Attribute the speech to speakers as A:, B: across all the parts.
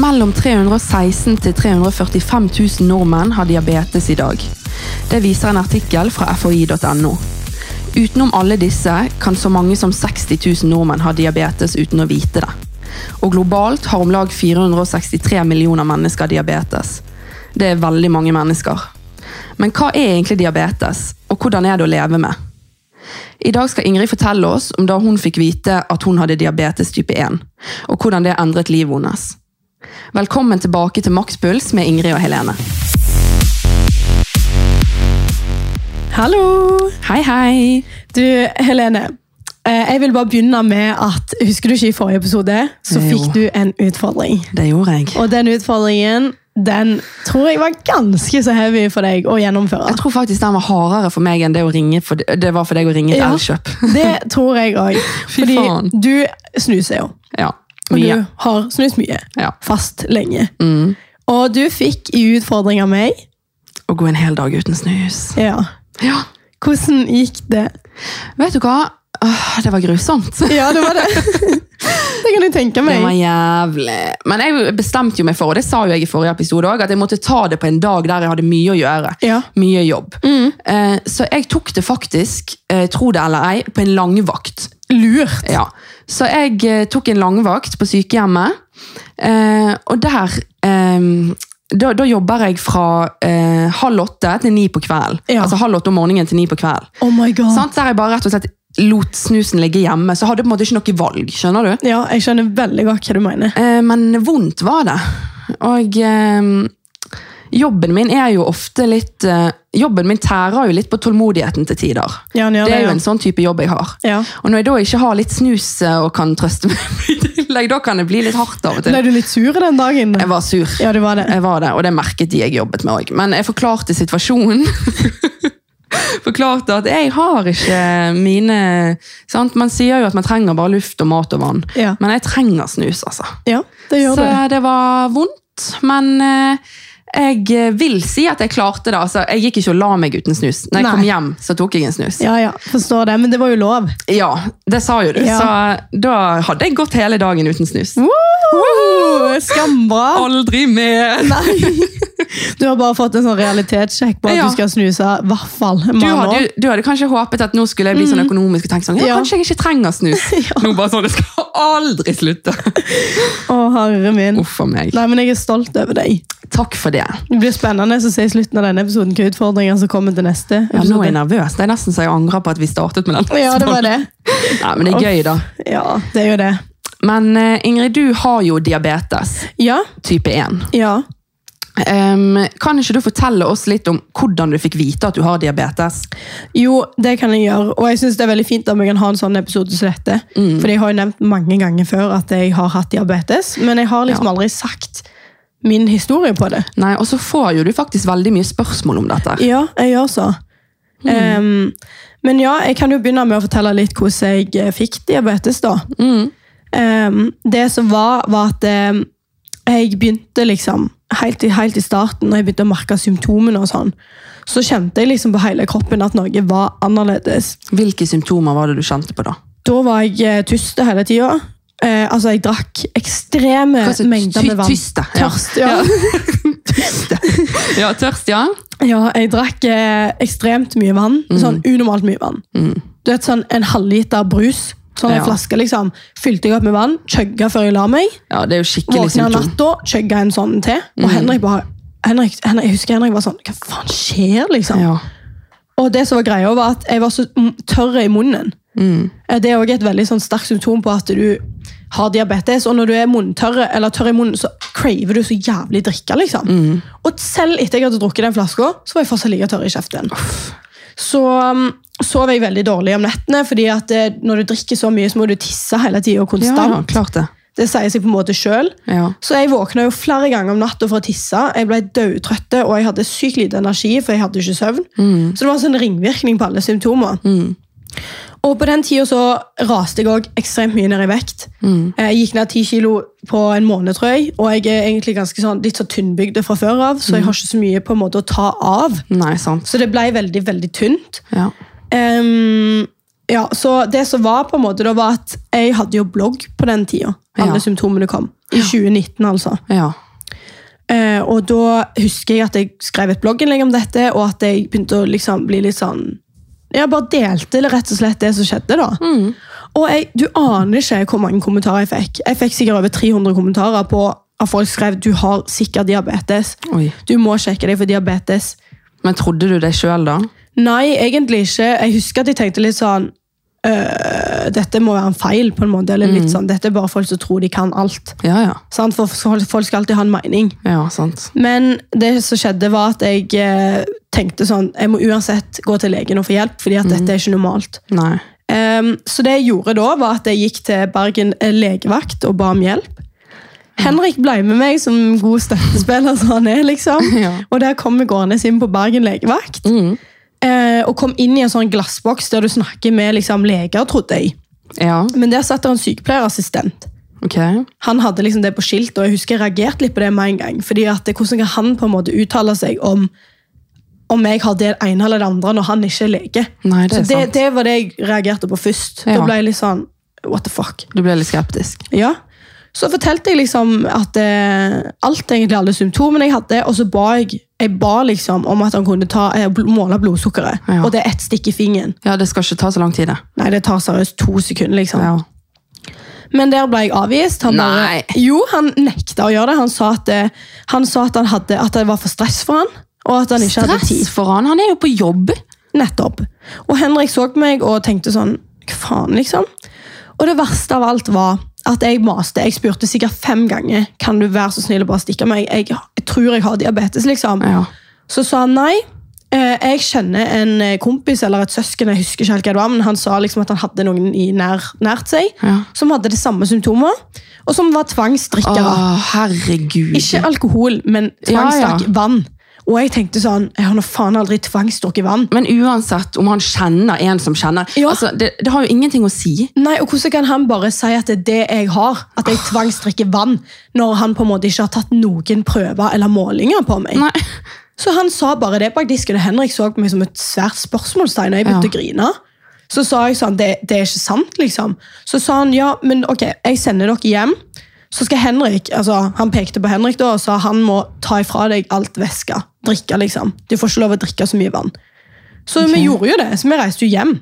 A: Mellom 316 til 345 000 nordmenn har diabetes i dag. Det viser en artikkel fra foi.no. Utenom alle disse kan så mange som 60 000 nordmenn ha diabetes uten å vite det. Og globalt har om lag 463 millioner mennesker diabetes. Det er veldig mange mennesker. Men hva er egentlig diabetes, og hvordan er det å leve med? I dag skal Ingrid fortelle oss om da hun fikk vite at hun hadde diabetes type 1, og hvordan det endret livet hennes. Velkommen tilbake til Makspuls med Ingrid og Helene.
B: Hallo!
A: Hei, hei!
B: Du, Helene. eh, Jeg vil bare begynne med at Husker du ikke i forrige episode? Så
A: Jo.
B: fikk du en utfordring.
A: Det gjorde jeg.
B: Og den utfordringen den tror jeg var ganske så heavy for deg å gjennomføre.
A: Jeg tror faktisk den var hardere for meg enn det, å ringe for, det var for deg å ringe et
B: Ja.
A: elkjøp.
B: Det tror jeg òg.
A: Fy
B: Fordi
A: faen.
B: du snuser jo.
A: Ja,
B: Og
A: mye.
B: du har snust mye.
A: Ja.
B: Fast lenge.
A: Mm.
B: Og du fikk i utfordring av meg
A: Å gå en hel dag uten snus.
B: Ja.
A: Ja.
B: Hvordan gikk det?
A: Vet du hva? Åh, det var grusomt.
B: Ja, det var det. det kan du tenke
A: Det
B: meg.
A: var jævlig. Men jeg bestemte jo meg for, og det sa jo jeg i forrige episode også, at jeg måtte ta det på en dag der jeg hadde mye å gjøre.
B: Ja.
A: Mye jobb.
B: Mm.
A: Eh, så jeg tok det faktisk, eh, tro det eller ei, på en langvakt.
B: Lurt.
A: Ja. Så jeg eh, tok en langvakt på sykehjemmet, eh, og der eh, da, da jobber jeg fra eh, halv åtte til ni på kvelden.
B: Ja.
A: Altså halv åtte om morgenen til ni på kvelden.
B: Oh my god.
A: Sant? Der jeg bare rett og slett lot snusen ligge hjemme, så hadde jeg på en måte ikke noe valg. skjønner du?
B: Ja, jeg skjønner veldig godt hva du mener.
A: Eh, men vondt var det. Og eh, jobben min er jo ofte litt eh, Jobben min tærer jo litt på tålmodigheten til tider.
B: Ja, han gjør
A: Det er jo
B: ja.
A: en sånn type jobb jeg har.
B: Ja.
A: Og når jeg da ikke har litt snus eh, og kan trøste meg i tillegg, da kan det bli litt hardt av og
B: Ble
A: til.
B: du litt sur den dagen?
A: Jeg var sur.
B: Ja, du var det.
A: Jeg var det, og det merket de jeg jobbet med òg. Men jeg forklarte situasjonen. forklarte at jeg har ikke mine sant? Man sier jo at man trenger bare luft og mat og vann.
B: Ja,
A: Men jeg trenger snus, altså.
B: ja det gjør
A: Så
B: du.
A: det var vondt, men eh, jeg vil si at jeg klarte det. Altså, jeg gikk ikke og la meg uten snus. Når jeg
B: Nei.
A: kom hjem, så tok jeg en snus. Ja,
B: Ja, ja, forstår det. Men det var jo lov.
A: det sa jo du.
B: Ja.
A: Så da hadde jeg gått hele dagen uten snus.
B: Woo! Skambra!
A: Aldri mer!
B: Nei. Du har bare fått en sånn realitetssjekk på at
A: Ja.
B: du skal snuse i hvert fall en
A: Du
B: mann
A: hadde,
B: år.
A: jo- du hadde kanskje håpet at nå skulle jeg bli sånn økonomisk og tenke sånn, ja,
B: Mm. Ja.
A: kanskje jeg ikke trenger snus. Nå bare sånn, det skal aldri slutte.
B: Å, herre min.
A: Uff a meg.
B: Nei, men jeg er stolt over deg.
A: Takk for det.
B: Det blir spennende å se i slutten av denne episoden hvilke utfordringer som kommer til neste
A: Ja, nå er jeg
B: episode.
A: nervøs. Det er nesten så jeg angrer på at vi startet med den.
B: Ja, det var det.
A: Nei, men det er gøy da.
B: Ja, det er jo det.
A: Men eh, Ingrid, du har jo diabetes
B: Ja,
A: type 1.
B: ja.
A: Ehm, kan ikke du fortelle oss litt om hvordan du fikk vite at du har diabetes?
B: Jo, det kan jeg gjøre. Og jeg synes det er veldig fint om jeg kan ha en sånn episode som dette. For jeg har jo nevnt mange ganger før at jeg har hatt diabetes, men jeg har liksom aldri sagt min historie på det.
A: Nei, Og så får jo du faktisk veldig mye spørsmål om dette.
B: Ja, jeg gjør så. Ehm, men ja, jeg kan jo begynne med å fortelle litt hvordan jeg eh, fikk diabetes, da.
A: Mm.
B: Ehm, det som var, var at eh, jeg begynte liksom helt, i- helt i starten, når jeg begynte å merke symptomene og sånn, så kjente jeg liksom på hele kroppen at noe var annerledes.
A: Hvilke symptomer var det du kjente på da?
B: Da var jeg eh, tyst hele tida. Eh, altså, jeg drakk ekstreme
A: Hva sa-
B: mengder
A: ty-
B: med vann.
A: tyste, ja.
B: Tørst, ja.
A: Ja, Tørst, ja?
B: ja, jeg drakk eh, ekstremt mye vann.
A: Mm.
B: Sånn unormalt mye vann. Du vet, sånn En halvliter brus. Sånn en
A: Ja.
B: flaske, liksom. Fylte jeg opp med vann, chugga før jeg la meg.
A: Ja, Det er jo skikkelig
B: Våkna
A: symptom.
B: natta, chugga en sånn til. Og
A: Mm.
B: Henrik bare Henrik, Henrik, jeg husker Henrik var sånn Hva faen skjer, liksom?
A: Ja.
B: Og det som var greia, var at jeg var så m- tørr i munnen. Eh, Det er også et veldig sånn sterkt symptom på at du har diabetes. Og når du er munntørre, eller tørr i munnen, så craver du så jævlig drikke. liksom. Og selv etter jeg hadde drukket den flaska, så var jeg fortsatt like tørr i kjeften. Så um, sov jeg veldig dårlig om nettene, fordi at eh, når du drikker så mye, så må du tisse hele tida
A: Ja, ja,
B: konstant.
A: klart det.
B: det sier seg på en måte sjøl.
A: Ja.
B: Så jeg våkna jo flere ganger om natta for å tisse. Jeg ble dødtrøtt, og jeg hadde sykt lite energi, for jeg hadde ikke søvn. Så det var en sånn ringvirkning på alle symptomer. Og på den tida så raste jeg òg ekstremt mye ned i vekt. Jeg gikk ned ti kilo på en måned, tror jeg. Og jeg er egentlig ganske sånn, litt så tynnbygd fra før av, så jeg har ikke så mye på en måte å ta av.
A: Nei, sant.
B: Så det ble veldig, veldig tynt.
A: Ja.
B: Ehm, ja, så det som var på en måte da var at jeg hadde jo blogg på den tida. Alle
A: Ja.
B: symptomene kom. i 2019, altså.
A: Ja.
B: Eh, og da husker jeg at jeg skrev et blogginnlegg om dette, og at jeg begynte å liksom bli litt sånn Jeg bare delte rett og slett det som skjedde, da. Og jeg, du aner ikke hvor mange kommentarer jeg fikk. Jeg fikk sikkert over 300 kommentarer på at folk skrev du har sikkert diabetes.
A: Oi.
B: Du må sjekke deg for diabetes.
A: Men trodde du det sjøl, da?
B: Nei, egentlig ikke. Jeg husker at jeg tenkte litt sånn øh, Dette må være en feil, på en måte. Eller litt sånn, Dette er bare folk som tror de kan alt.
A: Ja, ja.
B: Sant? For folk skal alltid ha en mening.
A: Ja, sant.
B: Men det som skjedde var at jeg eh, tenkte sånn, jeg må uansett gå til legen og få hjelp, fordi at dette er ikke normalt.
A: Nei.
B: Ehm, så det jeg gjorde da, var at jeg gikk til Bergen eh, legevakt og ba om hjelp. Henrik ble med meg som god støttespiller som han er, liksom.
A: Ja.
B: Og der kom vi gående inn på Bergen legevakt, eh, og kom inn i en sånn glassboks der du snakker med liksom, leger, trodde jeg.
A: Ja,
B: Men der satt det en sykepleierassistent
A: ok.
B: han hadde liksom det på skilt, og jeg husker jeg reagerte litt på det med en gang. fordi at det- Hvordan kan han på en måte uttale seg om om jeg har det ene eller det andre når han ikke er lege?
A: Nei, det er
B: Så det,
A: sant.
B: det var det jeg reagerte på først.
A: Ja.
B: Da ble jeg litt sånn What the fuck?
A: Du ble litt skeptisk.
B: Ja. Så fortalte jeg liksom at eh, alt egentlig alle symptomene jeg hadde, og så ba jeg jeg ba liksom om at han kunne ta, eh, bl- måle blodsukkeret.
A: Ja.
B: Og det er ett stikk i fingeren.
A: Ja, det skal ikke ta så lang tid, det.
B: Nei, det tar seriøst to sekunder. liksom.
A: Ja.
B: Men der ble jeg avvist. Han
A: Nei.
B: Bare, jo, han nekta å gjøre det. Han sa at, eh, han sa at, han hadde, at det var for stress for han, og at han ikke hadde tid.
A: Stress for han, han er jo på jobb.
B: Nettopp. Og Henrik så på meg og tenkte sånn, hva faen liksom? Og det verste av alt var at jeg maste. Jeg spurte sikkert fem ganger, kan du være så snill og bare stikke meg? Jeg, jeg tror jeg har diabetes, liksom.
A: Ja.
B: Så sa han nei. Eh, Jeg kjenner en eh, kompis eller et søsken, jeg husker ikke helt hva det var, men han sa liksom at han hadde noen i nær, nært seg
A: Ja.
B: som hadde de samme symptomer, og som var
A: Å,
B: tvangsdrikkere.
A: herregud.
B: Ikke alkohol, men
A: Ja,
B: tvangsdrakk
A: ja.
B: vann. Og jeg tenkte sånn, jeg har nå faen aldri tvangsdrukket vann.
A: Men uansett om han kjenner en som kjenner
B: Ja.
A: altså, det, det har jo ingenting å si.
B: Nei, og hvordan kan han bare si at det er det jeg har, at jeg tvangsdrikker vann, når han på en måte ikke har tatt noen prøver eller målinger på meg?
A: Nei.
B: Så han sa bare det bak disken, og Henrik så på meg som et svært spørsmålstegn, og jeg begynte
A: Ja.
B: å grine. Så sa jeg sånn, det, det er ikke sant, liksom. Så sa han, ja, men ok, jeg sender dere hjem. Så skal Henrik, altså han pekte på Henrik da, og sa han må ta ifra deg alt væske, drikke liksom. Du får ikke lov å drikke så mye vann. Så vi gjorde jo det, så vi reiste jo hjem.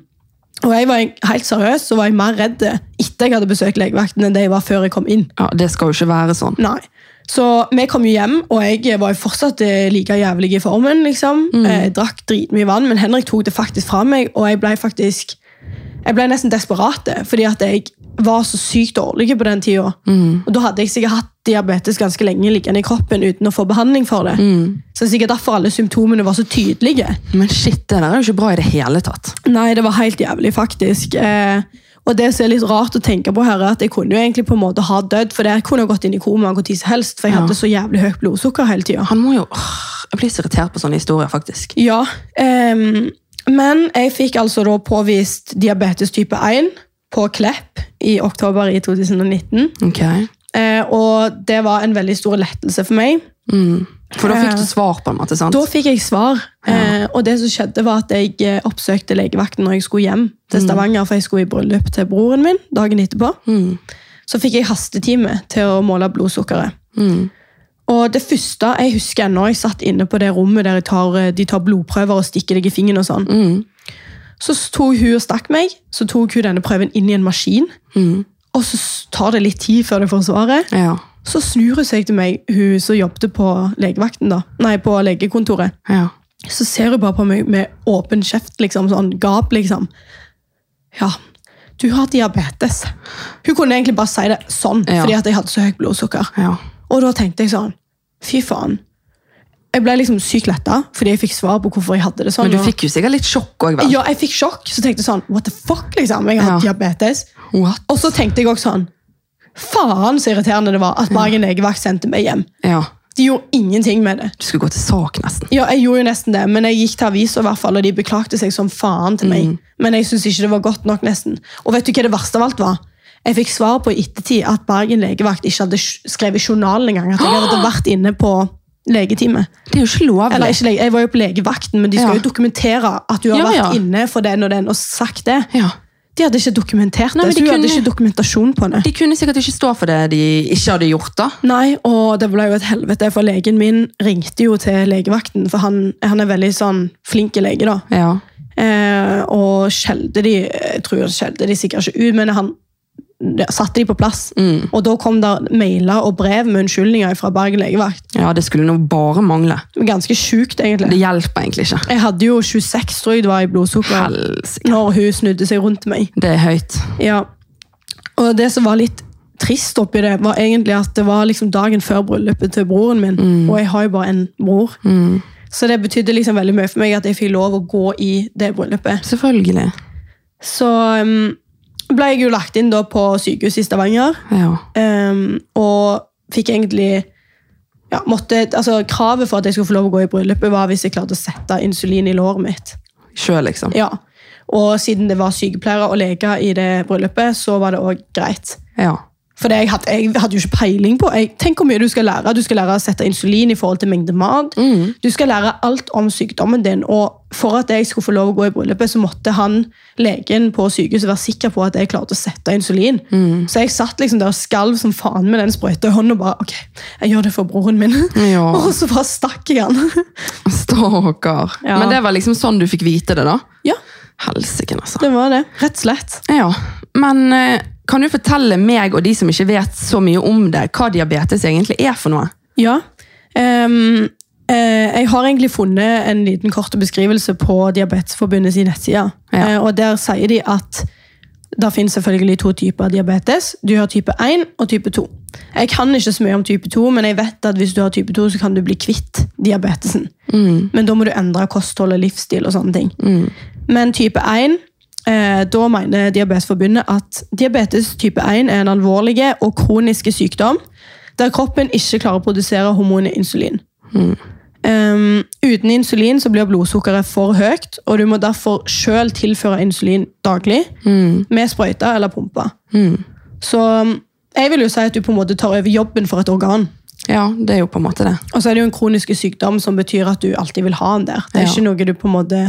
B: Og jeg var helt seriøs, så var jeg mer redd etter jeg hadde besøkt legevakten enn det jeg var før jeg kom inn.
A: Ja, det skal jo ikke være sånn.
B: Nei. Så vi kom jo hjem, og jeg var jo fortsatt eh, like jævlig i formen. liksom. Eh, Jeg drakk dritmye vann, men Henrik tok det faktisk fra meg, og jeg ble faktisk jeg ble nesten desperat, eh, fordi at jeg var så sykt dårlig på den tida. Og da hadde jeg sikkert hatt diabetes ganske lenge liggende i kroppen uten å få behandling for det. Så det er sikkert derfor alle symptomene var så tydelige.
A: Men shit, det der er jo ikke bra i det hele tatt.
B: Nei, det var helt jævlig, faktisk. Eh, og det som er litt rart å tenke på her, er at jeg kunne jo egentlig på en måte ha dødd, for jeg kunne ha gått inn i koma hvor tid som helst, for jeg hadde så jævlig høyt blodsukker hele tida.
A: Han må jo åh, Jeg blir så irritert på sånne historier, faktisk.
B: Ja, ehm, men jeg fikk altså da påvist diabetes type 1 på Klepp i oktober i 2019.
A: Ok.
B: Eh, og det var en veldig stor lettelse for meg.
A: Mm. For da fikk
B: Ja.
A: du svar på en måte, sant?
B: Eh, Da fikk jeg svar, eh, og det som skjedde var at jeg eh, oppsøkte legevakten når jeg skulle hjem til Stavanger, for jeg skulle i bryllup til broren min dagen etterpå.
A: Mm.
B: Så fikk jeg hastetime til å måle blodsukkeret. Og det første jeg husker ennå, jeg satt inne på det rommet der jeg tar, eh, de tar blodprøver og stikker deg i fingeren og sånn. Så tok hun og stakk meg, så tok hun denne prøven inn i en maskin, og så s- tar det litt tid før det får svaret.
A: Ja.
B: Så snur hun seg til meg, hun som jobbet på legevakten da, nei, på legekontoret.
A: ja.
B: Så ser hun bare på meg med åpen kjeft, liksom, sånn gap, liksom. Ja, du har diabetes. Hun kunne egentlig bare si det sånn,
A: Ja.
B: fordi at jeg hadde så høyt blodsukker.
A: ja.
B: Og da tenkte jeg sånn, fy faen. Jeg ble liksom sykt letta, fordi jeg fikk svar på hvorfor jeg hadde det sånn.
A: Men du
B: og-
A: fikk jo sikkert litt sjokk òg, vel?
B: Ja, jeg fikk sjokk, så tenkte jeg sånn, what the fuck, liksom, jeg har
A: Ja.
B: diabetes.
A: What?
B: Og så tenkte jeg også sånn, faen så irriterende det var at Bergen legevakt sendte meg hjem.
A: Ja.
B: De gjorde ingenting med det.
A: Du skulle gå til sak, nesten.
B: Ja, jeg gjorde jo nesten det, men jeg gikk til aviser, i hvert fall, og de beklagte seg som faen til
A: Mm.
B: meg. Men jeg synes ikke det var godt nok, nesten. Og vet du hva det verste av alt var? Jeg fikk svar på i ettertid at Bergen legevakt ikke hadde sj- skrevet i journalen engang. At jeg hadde vært inne på legetime.
A: Det er jo ikke lovlig.
B: Eller ikke lege, jeg var jo på legevakten, men de skal
A: Ja.
B: jo dokumentere at du har
A: Ja, ja.
B: vært inne for den og den og sagt det.
A: Ja.
B: De hadde ikke dokumentert
A: Nei,
B: det,
A: men
B: så
A: de
B: hun hadde
A: kunne-
B: ikke dokumentasjon på det.
A: De kunne sikkert ikke stå for det de ikke hadde gjort, da.
B: Nei, og det ble jo et helvete, for legen min ringte jo til legevakten, for han, han er veldig sånn flink lege, da.
A: Ja.
B: Eh, og skjelte de Jeg tror han skjelte de sikkert ikke ut, men han ja, satte de på plass.
A: Mm.
B: Og da kom det mailer og brev med unnskyldninger fra Bergen legevakt.
A: ja, det skulle nå bare mangle.
B: Ganske sjukt, egentlig.
A: Det hjelper egentlig ikke.
B: Jeg hadde jo 26 tror jeg det var i blodsukker
A: Helsike.
B: når hun snudde seg rundt meg.
A: Det er høyt.
B: Ja. Og det som var litt trist oppi det, var egentlig at det var liksom dagen før bryllupet til broren min.
A: Mm.
B: Og jeg har jo bare en bror. Så det betydde liksom veldig mye for meg at jeg fikk lov å gå i det bryllupet.
A: Selvfølgelig.
B: Så um, ble jeg jo lagt inn da på sykehus i Stavanger,
A: Ja.
B: um, og fikk egentlig ja, måtte, altså Kravet for at jeg skulle få lov å gå i bryllupet, var hvis jeg klarte å sette insulin i låret mitt.
A: Sjøl, liksom.
B: Ja. Og siden det var sykepleiere og leger i det bryllupet, så var det òg greit.
A: Ja.
B: For det jeg hadde, jeg hadde jo ikke peiling på jeg, Tenk hvor mye du skal lære. Du skal lære å sette insulin i forhold til mengde mat. Du skal lære alt om sykdommen din. Og for at jeg skulle få lov å gå i bryllupet, så måtte han, legen på sykehuset være sikker på at jeg klarte å sette insulin. Så jeg satt liksom der og skalv som faen med den sprøyta i hånden og bare OK, jeg gjør det for broren min.
A: Ja.
B: Og så bare stakk jeg han.
A: Stakkar.
B: Ja.
A: Men det var liksom sånn du fikk vite det, da?
B: ja,
A: Helsiken, altså.
B: det var det. Rett og slett.
A: Ja. Men eh, kan du fortelle meg og de som ikke vet så mye om det, hva diabetes egentlig er for noe?
B: Ja. Ehm, eh, jeg har egentlig funnet en liten kort beskrivelse på Diabetesforbundet sin nettside.
A: Ja.
B: Eh, og der sier de at det finnes selvfølgelig to typer diabetes. Du har type 1 og type 2. Jeg kan ikke så mye om type 2, men jeg vet at hvis du har type 2, så kan du bli kvitt diabetesen. Men da må du endre kosthold og livsstil og sånne ting. Men type 1, eh, da mener Diabetesforbundet at diabetes type 1 er en alvorlig og kronisk sykdom der kroppen ikke klarer å produsere hormonet insulin. Um, uten insulin så blir blodsukkeret for høyt, og du må derfor selv tilføre insulin daglig med sprøyter eller pumper. Så um, jeg vil jo si at du på en måte tar over jobben for et organ.
A: Ja, det er jo på en måte det.
B: Og så er det jo en kronisk sykdom som betyr at du alltid vil ha den der. Det er
A: Ja.
B: ikke noe du på en måte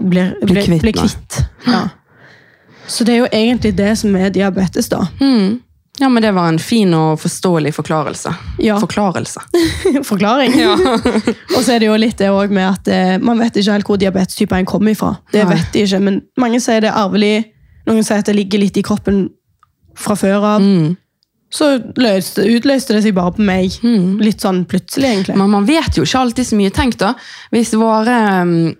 B: blir, blir,
A: kvitt
B: kvitt. Blir
A: med.
B: kvitt. Ja. Så det er jo egentlig det som er diabetes, da.
A: Ja, men det var en fin og forståelig forklarelse.
B: Ja.
A: Forklarelse.
B: Forklaring. Og så er det jo litt det også med at eh, man vet ikke helt hvor diabetes type 1 kommer ifra. Det
A: Nei.
B: vet de ikke, men mange sier det er arvelig. Noen sier at det ligger litt i kroppen fra før av.
A: Mm.
B: Så løste, utløste det seg bare på meg. Litt sånn plutselig, egentlig.
A: Men Mm. man vet jo ikke alltid så mye. Tenk da, hvis våre, mm,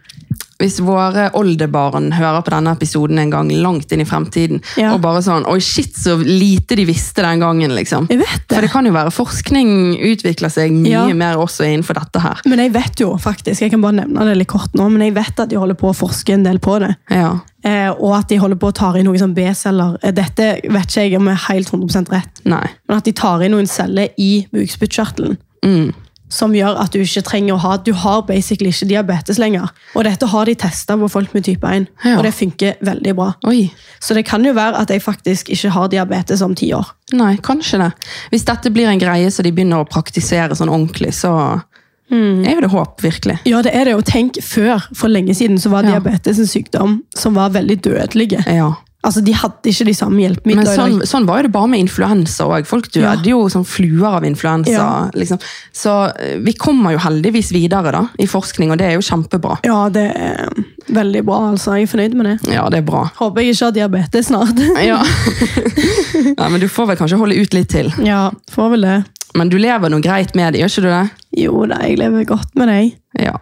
A: hvis våre oldebarn hører på denne episoden en gang langt inn i fremtiden,
B: Ja.
A: og bare sånn, oi shit, så lite de visste den gangen, liksom.
B: Jeg vet
A: For
B: det.
A: det kan jo være forskning utvikler seg mye
B: Ja.
A: mer også innenfor dette her.
B: Men jeg vet jo faktisk, jeg kan bare nevne det litt kort nå, men jeg vet at de holder på å forske en del på det.
A: Ja,
B: Eh, og at de holder på å ta inn noen sånn B-celler. Eh, Dette vet ikke jeg om er helt 100 rett.
A: nei.
B: men at de tar inn noen celler i bukspyttkjertelen.
A: Mm.
B: Som gjør at du ikke trenger å ha Du har basically ikke diabetes lenger. Og dette har de testa på folk med type 1,
A: Ja.
B: og det funker veldig bra.
A: Oi,
B: Så det kan jo være at jeg faktisk ikke har diabetes om ti år.
A: nei, kanskje det. Hvis dette blir en greie så de begynner å praktisere sånn ordentlig, så
B: Mm.
A: er jo det håp, virkelig.
B: Ja, det er det. Og tenk før, for lenge siden, så var
A: Ja.
B: diabetes en sykdom som var veldig dødelig.
A: Ja.
B: Altså, de hadde ikke de samme
A: Men
B: hjelpemidlene. i dag.
A: sånn, sånn var jo det bare med influensa òg. Folk døde jo som fluer av influensa.
B: Ja.
A: Liksom. Så eh, vi kommer jo heldigvis videre da, i forskning, og det er jo kjempebra.
B: Ja, det er veldig bra, altså. Jeg er fornøyd med det.
A: Ja, det er bra.
B: Håper jeg ikke har diabetes snart.
A: Ja. Nei, men du får vel kanskje holde ut litt til.
B: ja, får vel det.
A: Men du lever nå greit med det, gjør ikke du det?
B: Jo da, jeg lever godt med deg.
A: Ja.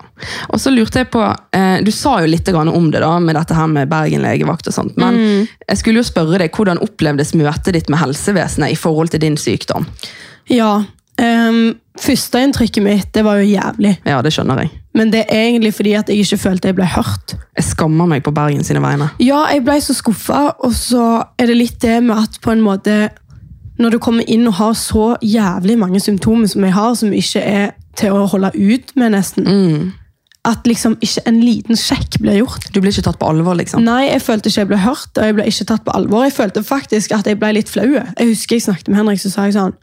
A: Og så lurte jeg på, eh, Du sa jo litt grann om det da, med dette her med Bergen legevakt, og sånt, men jeg skulle jo spørre deg, hvordan opplevdes møtet ditt med helsevesenet i forhold til din sykdom?
B: Ja. Um, Førsteinntrykket mitt det var jo jævlig,
A: Ja, det skjønner jeg.
B: men det er egentlig fordi at jeg ikke følte jeg ble hørt.
A: Jeg skammer meg på Bergen sine vegne.
B: Ja, jeg ble så skuffa, og så er det litt det med at på en måte Når du kommer inn og har så jævlig mange symptomer som jeg har, som ikke er til å holde ut med, nesten At liksom ikke en liten sjekk blir gjort.
A: Du blir ikke tatt på alvor, liksom?
B: Nei, jeg følte ikke jeg ble hørt, og jeg ble ikke tatt på alvor. Jeg følte faktisk at jeg ble litt flau. Jeg husker jeg snakket med Henrik, så sa jeg sånn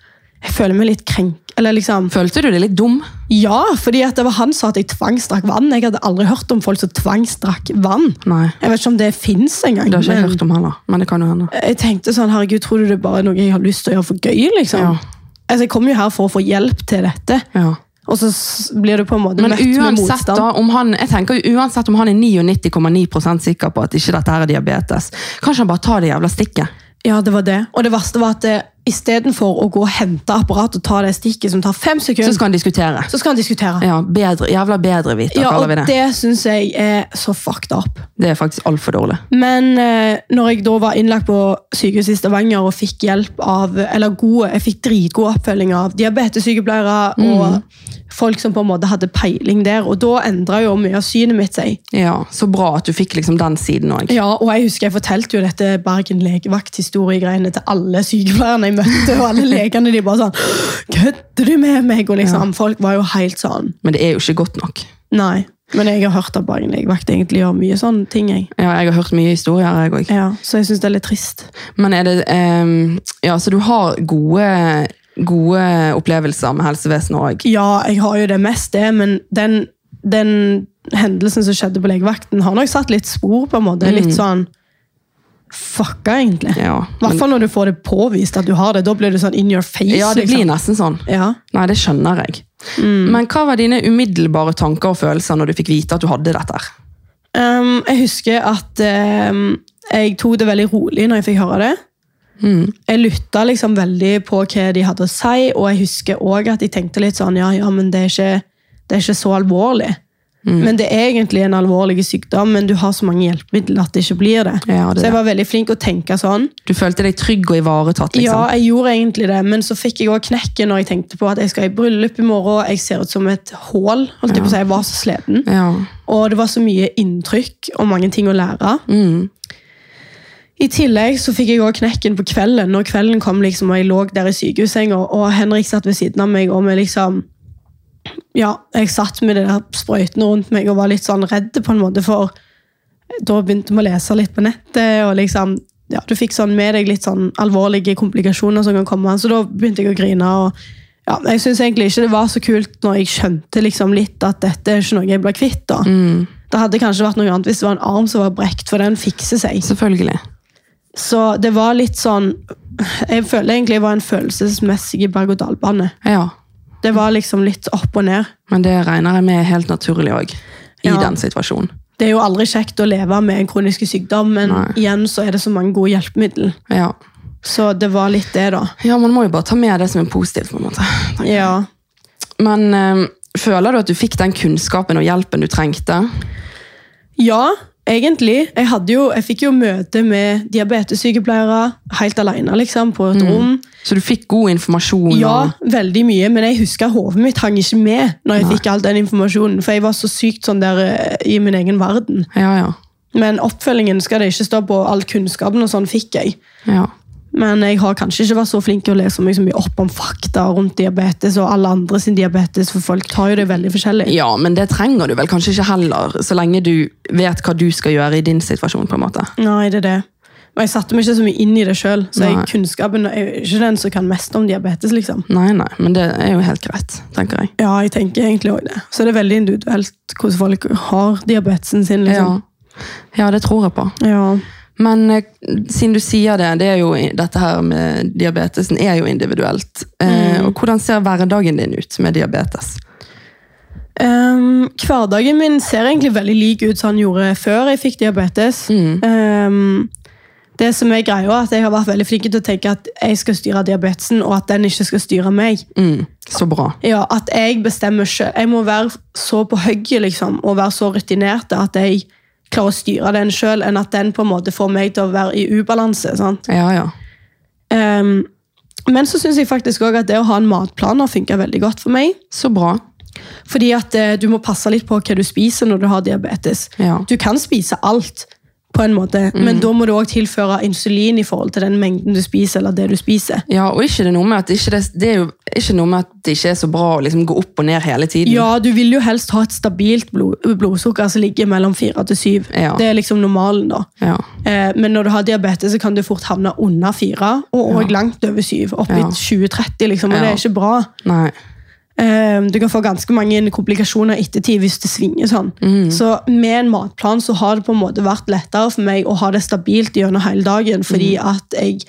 B: Jeg føler meg litt krenk... Eller liksom
A: Følte du deg litt dum?
B: Ja, fordi at det var han som sa at jeg tvangsdrakk vann. Jeg hadde aldri hørt om folk som tvangsdrakk vann.
A: Nei.
B: Jeg vet ikke om det fins engang.
A: Det har ikke jeg
B: men
A: hørt om heller, men det kan jo hende.
B: Jeg tenkte sånn, herregud, tror du det er bare er noe jeg har lyst til å gjøre for gøy? liksom?
A: Ja.
B: Altså, Jeg kom jo her for å få hjelp til dette,
A: Ja.
B: og så s- blir du på en måte
A: Men
B: møtt med
A: uansett
B: motstand.
A: da, om han, jeg tenker jo uansett om han er 99,9 sikker på at ikke dette her er diabetes, kanskje han bare tar det jævla stikket?
B: Ja, det var det. Og det verste var at eh, istedenfor å gå og hente apparat og ta det stikket som tar fem
A: Så
B: sekunder, så skal,
A: skal han diskutere.
B: han diskutere.
A: Ja, bedre, jævla bedreviter,
B: Ja,
A: kaller
B: og
A: vi det. det.
B: det syns jeg er så fucked up.
A: Det er faktisk altfor dårlig.
B: Men eh, når jeg da var innlagt på sykehuset i Stavanger og fikk hjelp av, eller gode, jeg fikk dritgod oppfølging av diabetessykepleiere og folk som på en måte hadde peiling der, og da endra jo mye av synet mitt seg.
A: Ja, Så bra at du fikk liksom den siden òg.
B: Ja, og jeg husker jeg fortalte jo dette Bergen legevakt-historiegreiene til alle sykepleierne jeg møtte, og alle legene de bare sånn Kødder du med meg? Og liksom, folk var jo helt sånn
A: Men det er jo ikke godt nok.
B: Nei. Men jeg har hørt at Bergen legevakt egentlig gjør mye sånne ting, jeg.
A: Ja, Jeg har hørt mye historier, jeg òg.
B: Ja, så jeg syns det er litt trist.
A: Men er det ehm, Ja, så du har gode, gode opplevelser med helsevesenet òg.
B: Ja, jeg har jo det mest det, men den, den hendelsen som skjedde på legevakten, har nok satt litt spor, på en måte. Litt
A: Mm.
B: sånn fucka, egentlig. I
A: Ja,
B: hvert fall når du får det påvist at du har det. Da blir det sånn in your face.
A: ja, det blir
B: liksom.
A: nesten sånn.
B: Ja.
A: Nei, det skjønner jeg.
B: Mm.
A: Men hva var dine umiddelbare tanker og følelser når du fikk vite at du hadde dette? her?
B: Ehm, jeg husker at ehm, jeg tok det veldig rolig når jeg fikk høre det.
A: Mm.
B: Jeg lytta liksom veldig på hva de hadde å si, og jeg husker òg at jeg tenkte litt sånn ja, ja, men det er ikke, det er ikke så alvorlig.
A: Mm.
B: Men det er egentlig en alvorlig sykdom, men du har så mange hjelpemidler at det ikke blir det.
A: Ja, det er
B: så
A: det.
B: jeg var veldig flink å tenke sånn.
A: Du følte deg trygg og ivaretatt? liksom?
B: Ja, jeg gjorde egentlig det, men så fikk jeg òg knekken når jeg tenkte på at jeg skal i bryllup i morgen. Jeg ser ut som et hål. holdt jeg på å si, Jeg var så sliten.
A: Ja.
B: Og det var så mye inntrykk og mange ting å lære. I tillegg så fikk jeg også knekken på kvelden. Når kvelden kom liksom, og jeg lå der i sykehussenga, og Henrik satt ved siden av meg, og vi liksom Ja, jeg satt med de der sprøytene rundt meg og var litt sånn redd, på en måte, for da begynte vi å lese litt på nettet, og liksom ja, Du fikk sånn med deg litt sånn alvorlige komplikasjoner som kan komme, så da begynte jeg å grine. og ja, Jeg syns egentlig ikke det var så kult når jeg skjønte liksom litt at dette er ikke noe jeg ble kvitt. da. Det hadde kanskje vært noe annet hvis det var en arm som var brekt, for den fikser seg.
A: Selvfølgelig.
B: Så det var litt sånn Jeg føler egentlig jeg var en følelsesmessig berg-og-dal-bane.
A: Ja.
B: Det var liksom litt opp og ned.
A: Men det regner jeg med er helt naturlig òg. I
B: Ja.
A: den situasjonen.
B: Det er jo aldri kjekt å leve med en kronisk sykdom, men
A: Nei.
B: igjen så er det så mange gode hjelpemidler.
A: Ja.
B: Så det var litt det, da.
A: ja, man må jo bare ta med det som er positivt. på en måte.
B: Ja.
A: Men eh, føler du at du fikk den kunnskapen og hjelpen du trengte?
B: Ja, egentlig. Jeg, hadde jo, jeg fikk jo møte med diabetessykepleiere helt alene, liksom, på et rom.
A: Så du fikk god informasjon? og-
B: Ja, veldig mye, men jeg husker hodet mitt hang ikke med når jeg fikk all den informasjonen, for jeg var så sykt sånn der eh, i min egen verden.
A: ja, ja.
B: Men oppfølgingen skal det ikke stå på, all kunnskapen og sånn fikk jeg.
A: ja.
B: Men jeg har kanskje ikke vært så flink til å lese meg så mye opp om fakta rundt diabetes og alle andre sin diabetes, for folk tar jo det veldig forskjellig.
A: Ja, men det trenger du vel kanskje ikke heller, så lenge du vet hva du skal gjøre i din situasjon. på en måte.
B: Nei, det er det. Og jeg satte meg ikke så mye inn i det sjøl, så jeg,
A: Nei.
B: kunnskapen er jo ikke den som kan mest om diabetes, liksom.
A: Nei, nei, men det er jo helt greit, tenker jeg.
B: Ja, jeg tenker egentlig også det. Så det er veldig individuelt hvordan folk har diabetesen sin, liksom.
A: Ja. ja, det tror jeg på.
B: ja.
A: Men eh, siden du sier det, det er jo, dette her med diabetesen er jo individuelt. Eh, og Hvordan ser hverdagen din ut med diabetes?
B: Ehm, hverdagen min ser egentlig veldig lik ut som han gjorde før jeg fikk diabetes. Ehm, det som er greia er at Jeg har vært veldig flink til å tenke at jeg skal styre diabetesen, og at den ikke skal styre meg.
A: Mm, så bra.
B: Ja, At jeg bestemmer sjøl. Jeg må være så på hugget liksom, og være så rutinert at jeg klarer å styre den sjøl, enn at den på en måte får meg til å være i ubalanse. sant?
A: Ja, ja.
B: Ehm, men så syns jeg faktisk også at det å ha en matplan har funka veldig godt for meg.
A: Så bra.
B: Fordi at eh, du må passe litt på hva du spiser når du har diabetes.
A: Ja. Mm.
B: Du kan spise alt. på en måte. Men da må du òg tilføre insulin i forhold til den mengden du spiser, eller det du spiser.
A: Ja, og ikke det, noe med at ikke det, det er jo ikke noe med at det ikke er så bra å liksom gå opp og ned hele tiden.
B: Ja, du vil jo helst ha et stabilt blod, blodsukker som ligger mellom 4 til 7.
A: Ja.
B: Det er liksom normalen, da.
A: Ja.
B: Eh, men når du har diabetes, så kan du fort havne under 4, og også langt over 7. Opp i
A: Ja.
B: 20-30, liksom, og
A: Ja.
B: det er ikke bra.
A: Nei.
B: Eh, Du kan få ganske mange komplikasjoner ettertid hvis det svinger sånn.
A: Mm.
B: Så med en matplan så har det på en måte vært lettere for meg å ha det stabilt gjennom hele dagen, fordi
A: Mm.
B: at jeg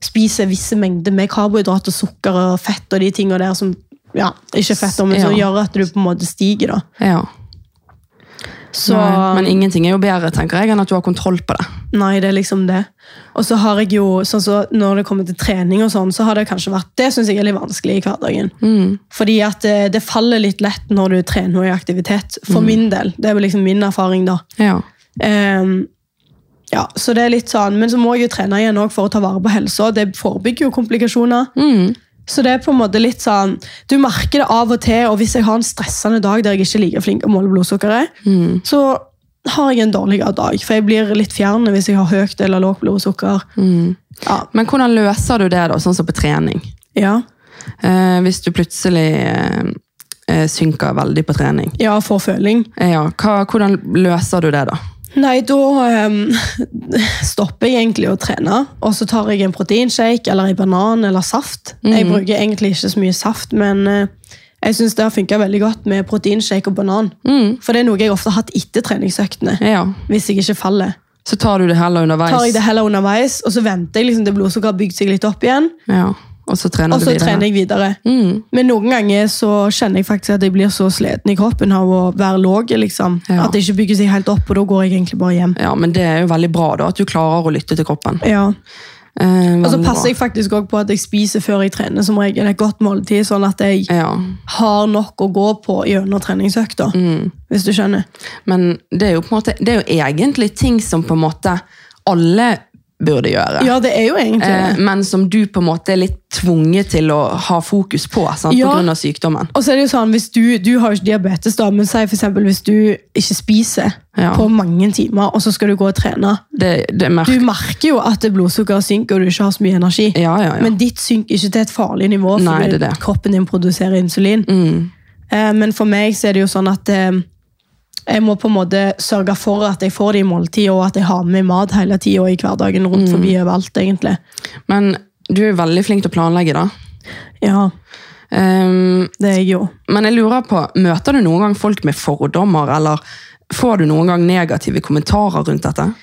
B: spiser visse mengder med karbohydrater, sukker og fett og de tingene der som ja, ikke fett, men som
A: Ja.
B: gjør at du på en måte stiger. da.
A: Ja.
B: Så,
A: Nei. Men
B: nei,
A: ingenting er jo bedre, tenker jeg, enn at du har kontroll på det.
B: det er liksom det. Og så har jeg jo, sånn så når det kommer til trening og sånn, så har det kanskje vært, det synes jeg er litt vanskelig i hverdagen. Fordi at eh, det faller litt lett når du trener i aktivitet, for min del. Det er jo liksom min erfaring da.
A: Ja.
B: Ehm, ja, så det er litt sånn, men så må jeg jo trene igjen også for å ta vare på helsa. Det forebygger jo komplikasjoner. Så det er på en måte litt sånn, du merker det av og til, og hvis jeg har en stressende dag der jeg ikke er like flink å måle blodsukkeret, så har jeg en dårligere dag, for jeg blir litt fjern hvis jeg har høyt eller lågt blodsukker. Ja,
A: Men hvordan løser du det, da, sånn som på trening?
B: ja.
A: Eh, hvis du plutselig eh, eh, synker veldig på trening.
B: ja får føling.
A: Eh, ja. Hva, hvordan løser du det, da?
B: Nei, da ehm, stopper jeg egentlig å trene, og så tar jeg en proteinshake eller en banan eller saft.
A: Mhm.
B: Jeg bruker egentlig ikke så mye saft, men eh, jeg syns det har funka veldig godt med proteinshake og banan.
A: Mm.
B: For det er noe jeg ofte har hatt etter treningsøktene,
A: Eh, ja.
B: hvis jeg ikke faller.
A: Så tar du det heller underveis.
B: Tar jeg det heller underveis, og så venter jeg liksom til blodsukkeret har bygd seg litt opp igjen,
A: Ja. Og så trener
B: og så
A: du videre.
B: trener jeg videre.
A: Mm.
B: Men noen ganger så kjenner jeg faktisk at jeg blir så sliten i kroppen av å være lav, liksom.
A: Ja.
B: At det ikke bygger seg helt opp, og da går jeg egentlig bare hjem.
A: Ja, men det er jo veldig bra da, at du klarer å lytte til kroppen.
B: Ja.
A: Eh,
B: Og så
A: veldig
B: passer
A: bra.
B: jeg faktisk også på at jeg spiser før jeg trener, som regel et godt måltid, sånn at jeg
A: Ja,
B: har nok å gå på gjennom treningsøkta.
A: Mm.
B: Hvis du skjønner.
A: men det er jo på en måte, det er jo egentlig ting som på en måte alle burde gjøre.
B: Ja, det er jo egentlig
A: Eh,
B: det.
A: men som du på en måte er litt tvunget til å ha fokus på, sant?
B: Ja.
A: på grunn av sykdommen.
B: Og så er det jo sånn, hvis du, du har jo ikke diabetes, da, men si for eksempel hvis du ikke spiser
A: Ja.
B: på mange timer, og så skal du gå og trene.
A: Det, det
B: Du
A: merker...
B: merker jo at blodsukkeret synker, og du ikke har så mye energi.
A: Ja, ja, ja.
B: Men ditt synker ikke til et farlig nivå,
A: Nei,
B: fordi
A: det Mm. er det.
B: kroppen din produserer insulin. Eh, Men for meg så er det jo sånn at eh, jeg må på en måte sørge for at jeg får det i måltid, og at jeg har med mat hele tida i hverdagen
A: Mm.
B: rundt forbi overalt, egentlig.
A: Men du er jo veldig flink til å planlegge da.
B: Ja,
A: Ehm,
B: det er jeg jo.
A: men jeg lurer på, møter du noen gang folk med fordommer, eller får du noen gang negative kommentarer rundt dette?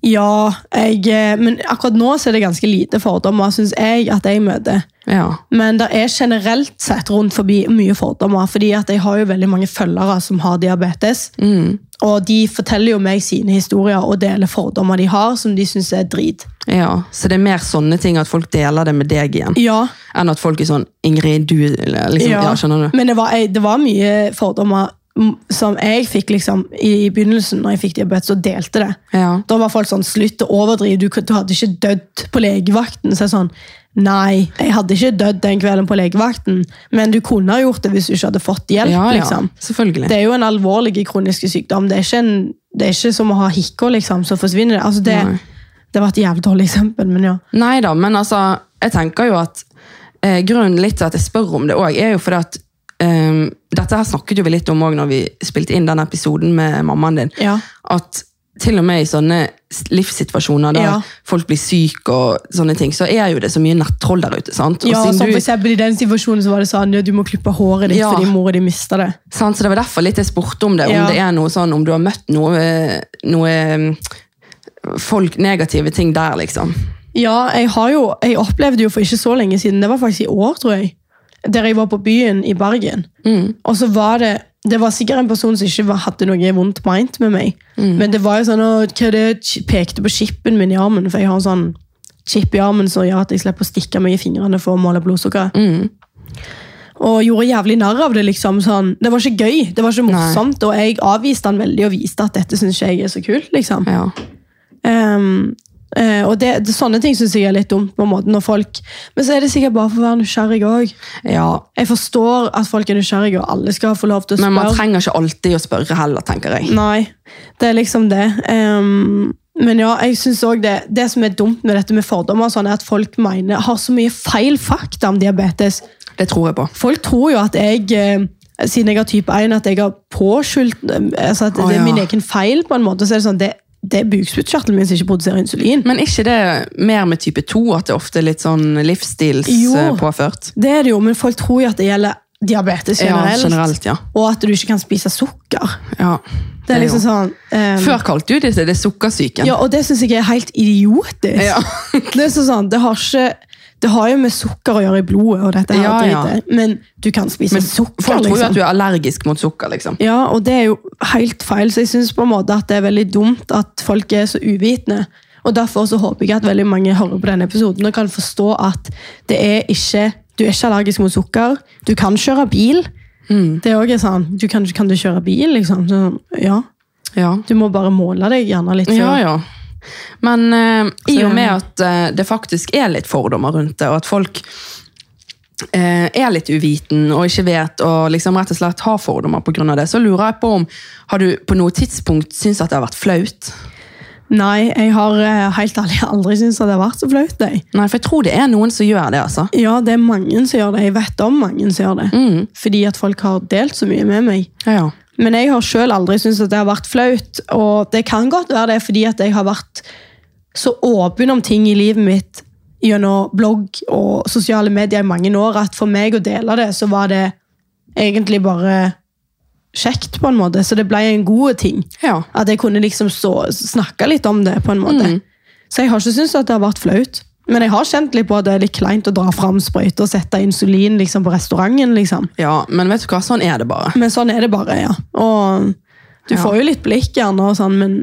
B: Ja, jeg, eh, men akkurat nå så er det ganske lite fordommer, syns jeg, at jeg møter.
A: Ja,
B: Men det er generelt sett rundt forbi mye fordommer, fordi at jeg har jo veldig mange følgere som har diabetes.
A: Mm.
B: Og de forteller jo meg sine historier og deler fordommer de har, som de syns er drit.
A: Ja, så det er mer sånne ting at folk deler det med deg igjen,
B: Ja,
A: enn at folk er sånn Ingrid, du eller liksom, ja. skjønner du?
B: Men det var, jeg- det var mye fordommer mm, som jeg fikk liksom, i, i begynnelsen, når jeg fikk diabetes, og delte det.
A: Ja.
B: Da var folk sånn slutt å overdrive, du, du hadde ikke dødd på legevakten. Så jeg sånn, nei, jeg hadde ikke dødd den kvelden på legevakten, men du kunne ha gjort det hvis du ikke hadde fått hjelp.
A: ja, ja,
B: liksom.
A: selvfølgelig.
B: Det er jo en alvorlig kronisk sykdom. Det er ikke, en, det er ikke som å ha hikker, liksom, så forsvinner det. Altså, det,
A: Nei.
B: det var et jævlig dårlig eksempel, men ja.
A: Nei da, men altså, jeg tenker jo at eh, grunnen litt til at jeg spør om det òg, er jo fordi at eh, Dette her snakket jo vi litt om òg når vi spilte inn den episoden med mammaen din.
B: Ja.
A: At til og med i sånne s- livssituasjoner der
B: Ja.
A: folk blir syke og sånne ting, så er jo det så mye nettroll der ute. sant? Og
B: ja
A: siden
B: som
A: du-
B: for eksempel I den situasjonen så var det sånn ja, du må klippe håret ditt
A: Ja.
B: fordi mora di mista det.
A: Sant, så Det var derfor litt jeg spurte om det. Om
B: Ja.
A: det er noe sånn, om du har møtt noe, noe folk negative ting der, liksom.
B: Ja, jeg, har jo, jeg opplevde jo for ikke så lenge siden, det var faktisk i år, tror jeg, der jeg var på byen i Bergen. Og så var det det var sikkert en person som ikke var, hadde noe vondt meint med meg. Men det var jo sånn, «Å, hva er det Ch- pekte på chipen min i armen, for jeg har en sånn chip i armen som gjør at jeg slipper å stikke meg i fingrene for å måle blodsukkeret. Og gjorde jævlig narr av det. liksom sånn, Det var ikke gøy, det var ikke morsomt. Og jeg avviste han veldig og viste at dette syns ikke jeg er så kult. liksom.
A: Ja.
B: Ehm, eh, og det, det, Sånne ting syns jeg er litt dumt. på en måte når folk, Men så er det sikkert bare for å være nysgjerrig òg.
A: ja.
B: Jeg forstår at folk er nysgjerrige, og alle skal få lov til å
A: Men man
B: spørre.
A: trenger ikke alltid å spørre heller, tenker jeg.
B: Nei, det er liksom det. Ehm, Men ja, jeg synes også det, det som er dumt med dette med fordommer, og sånn, er at folk mener, har så mye feil fakta om diabetes.
A: Det tror jeg på.
B: Folk tror jo at jeg, eh, siden jeg har type 1, at jeg har påskyldt eh, altså at
A: Å,
B: det
A: ja.
B: er min egen feil. på en måte, så er det sånn, det, det er bukspyttkjertelen min som ikke produserer insulin.
A: Men ikke det mer med type 2, at det ofte er litt sånn eh,
B: Jo.
A: livsstilspåført?
B: Det er det jo, men folk tror jo at det gjelder diabetes
A: Ja,
B: generelt.
A: generelt, ja.
B: Og at du ikke kan spise sukker.
A: ja.
B: Det er liksom
A: jo-
B: sånn... eh,
A: Før kalte du det det
B: Ja,
A: sukkersyken.
B: og det syns jeg er helt idiotisk.
A: Ja.
B: det, er så sånn, det, har ikke, det har jo med sukker å gjøre i blodet, og dette her
A: Ja, ja.
B: dritet, men du kan spise
A: Men
B: sukker.
A: folk tror jo
B: liksom.
A: at du er allergisk mot sukker, liksom.
B: Ja, og det er jo helt feil, så jeg syns på en måte at det er veldig dumt at folk er så uvitende. Og derfor så håper jeg at veldig mange hører på denne episoden og kan forstå at det er ikke, du er ikke allergisk mot sukker. Du kan kjøre bil.
A: Mm.
B: Det er også sånn, du kan, kan du kjøre bil, liksom? Så, ja.
A: Ja.
B: Du må bare måle deg gjerne litt. før.
A: Ja, ja. Men eh, i
B: Så-
A: og med at eh, det faktisk er litt fordommer rundt det, og at folk eh, er litt uviten og ikke vet, og liksom rett og slett har fordommer pga. det, så lurer jeg på om har du på noe tidspunkt syntes at det har vært flaut?
B: Nei, jeg har eh, helt ærlig aldri syntes at det har vært så flaut. jeg.
A: Nei, for jeg tror det er noen som gjør det, altså.
B: Ja, det er mange som gjør det. Jeg vet om mange som gjør det.
A: Mm.
B: Fordi at folk har delt så mye med meg.
A: Ja, ja.
B: Men jeg har sjøl aldri syntes at det har vært flaut. Og det kan godt være det er fordi at jeg har vært så åpen om ting i livet mitt gjennom blogg og sosiale medier i mange år at for meg å dele det, så var det egentlig bare kjekt, på en måte. Så det ble en god ting.
A: Ja.
B: At jeg kunne liksom stå, snakke litt om det, på en måte. Så jeg har ikke syntes at det har vært flaut. Men jeg har kjent litt på at det er litt kleint å dra fram sprøyter og sette insulin liksom, på restauranten. liksom.
A: ja, men vet du hva, sånn er det bare.
B: Men sånn er det bare, ja. Og du
A: Ja.
B: får jo litt blikk gjerne, og sånn, men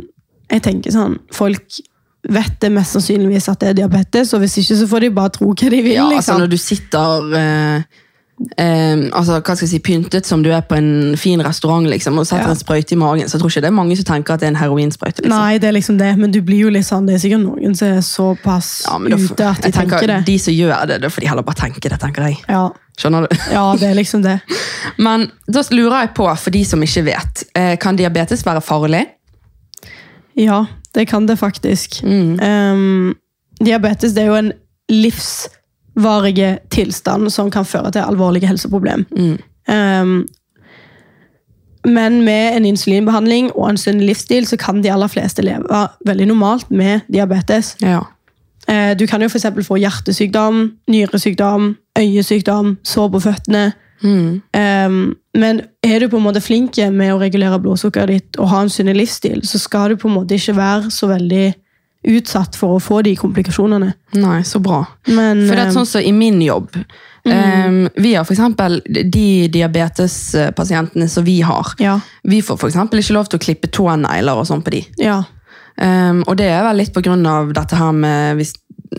B: jeg tenker sånn Folk vet det mest sannsynligvis at det er diabetes, og hvis ikke så får de bare tro hva de vil.
A: Ja, altså
B: liksom.
A: når du sitter eh, eh, altså, hva skal jeg si, pyntet som du er på en fin restaurant liksom, og setter
B: Ja.
A: en sprøyte i magen, så tror ikke det er mange som tenker at det er en heroinsprøyte. Liksom.
B: Nei, det er liksom det, men du blir jo litt sånn Det er sikkert noen som er såpass
A: Ja, men da,
B: ute at de
A: jeg tenker,
B: tenker det.
A: De som gjør det, det er fordi de heller bare tenker det, tenker jeg.
B: Ja.
A: Skjønner du?
B: ja, det er liksom det.
A: Men da lurer jeg på, for de som ikke vet, eh, kan diabetes være farlig?
B: Ja, det kan det faktisk. Ehm, diabetes det er jo en livsvarig tilstand som kan føre til alvorlige helseproblem. Ehm, men med en insulinbehandling og en sunn livsstil så kan de aller fleste leve veldig normalt med diabetes.
A: Ja.
B: Eh, Du kan jo for eksempel få hjertesykdom, nyresykdom, øyesykdom, sår på føttene. Um, men er du på en måte flink med å regulere blodsukkeret ditt og ha en sunn livsstil, så skal du på en måte ikke være så veldig utsatt for å få de komplikasjonene.
A: Nei, så bra.
B: Men
A: For det er
B: eh,
A: sånn som i min jobb. eh, vi har for eksempel de diabetespasientene som vi har.
B: eh, ja,
A: Vi får for eksempel ikke lov til å klippe tånegler og sånn på de.
B: ja,
A: Ehm, og det er vel litt på grunn av dette her med hvis,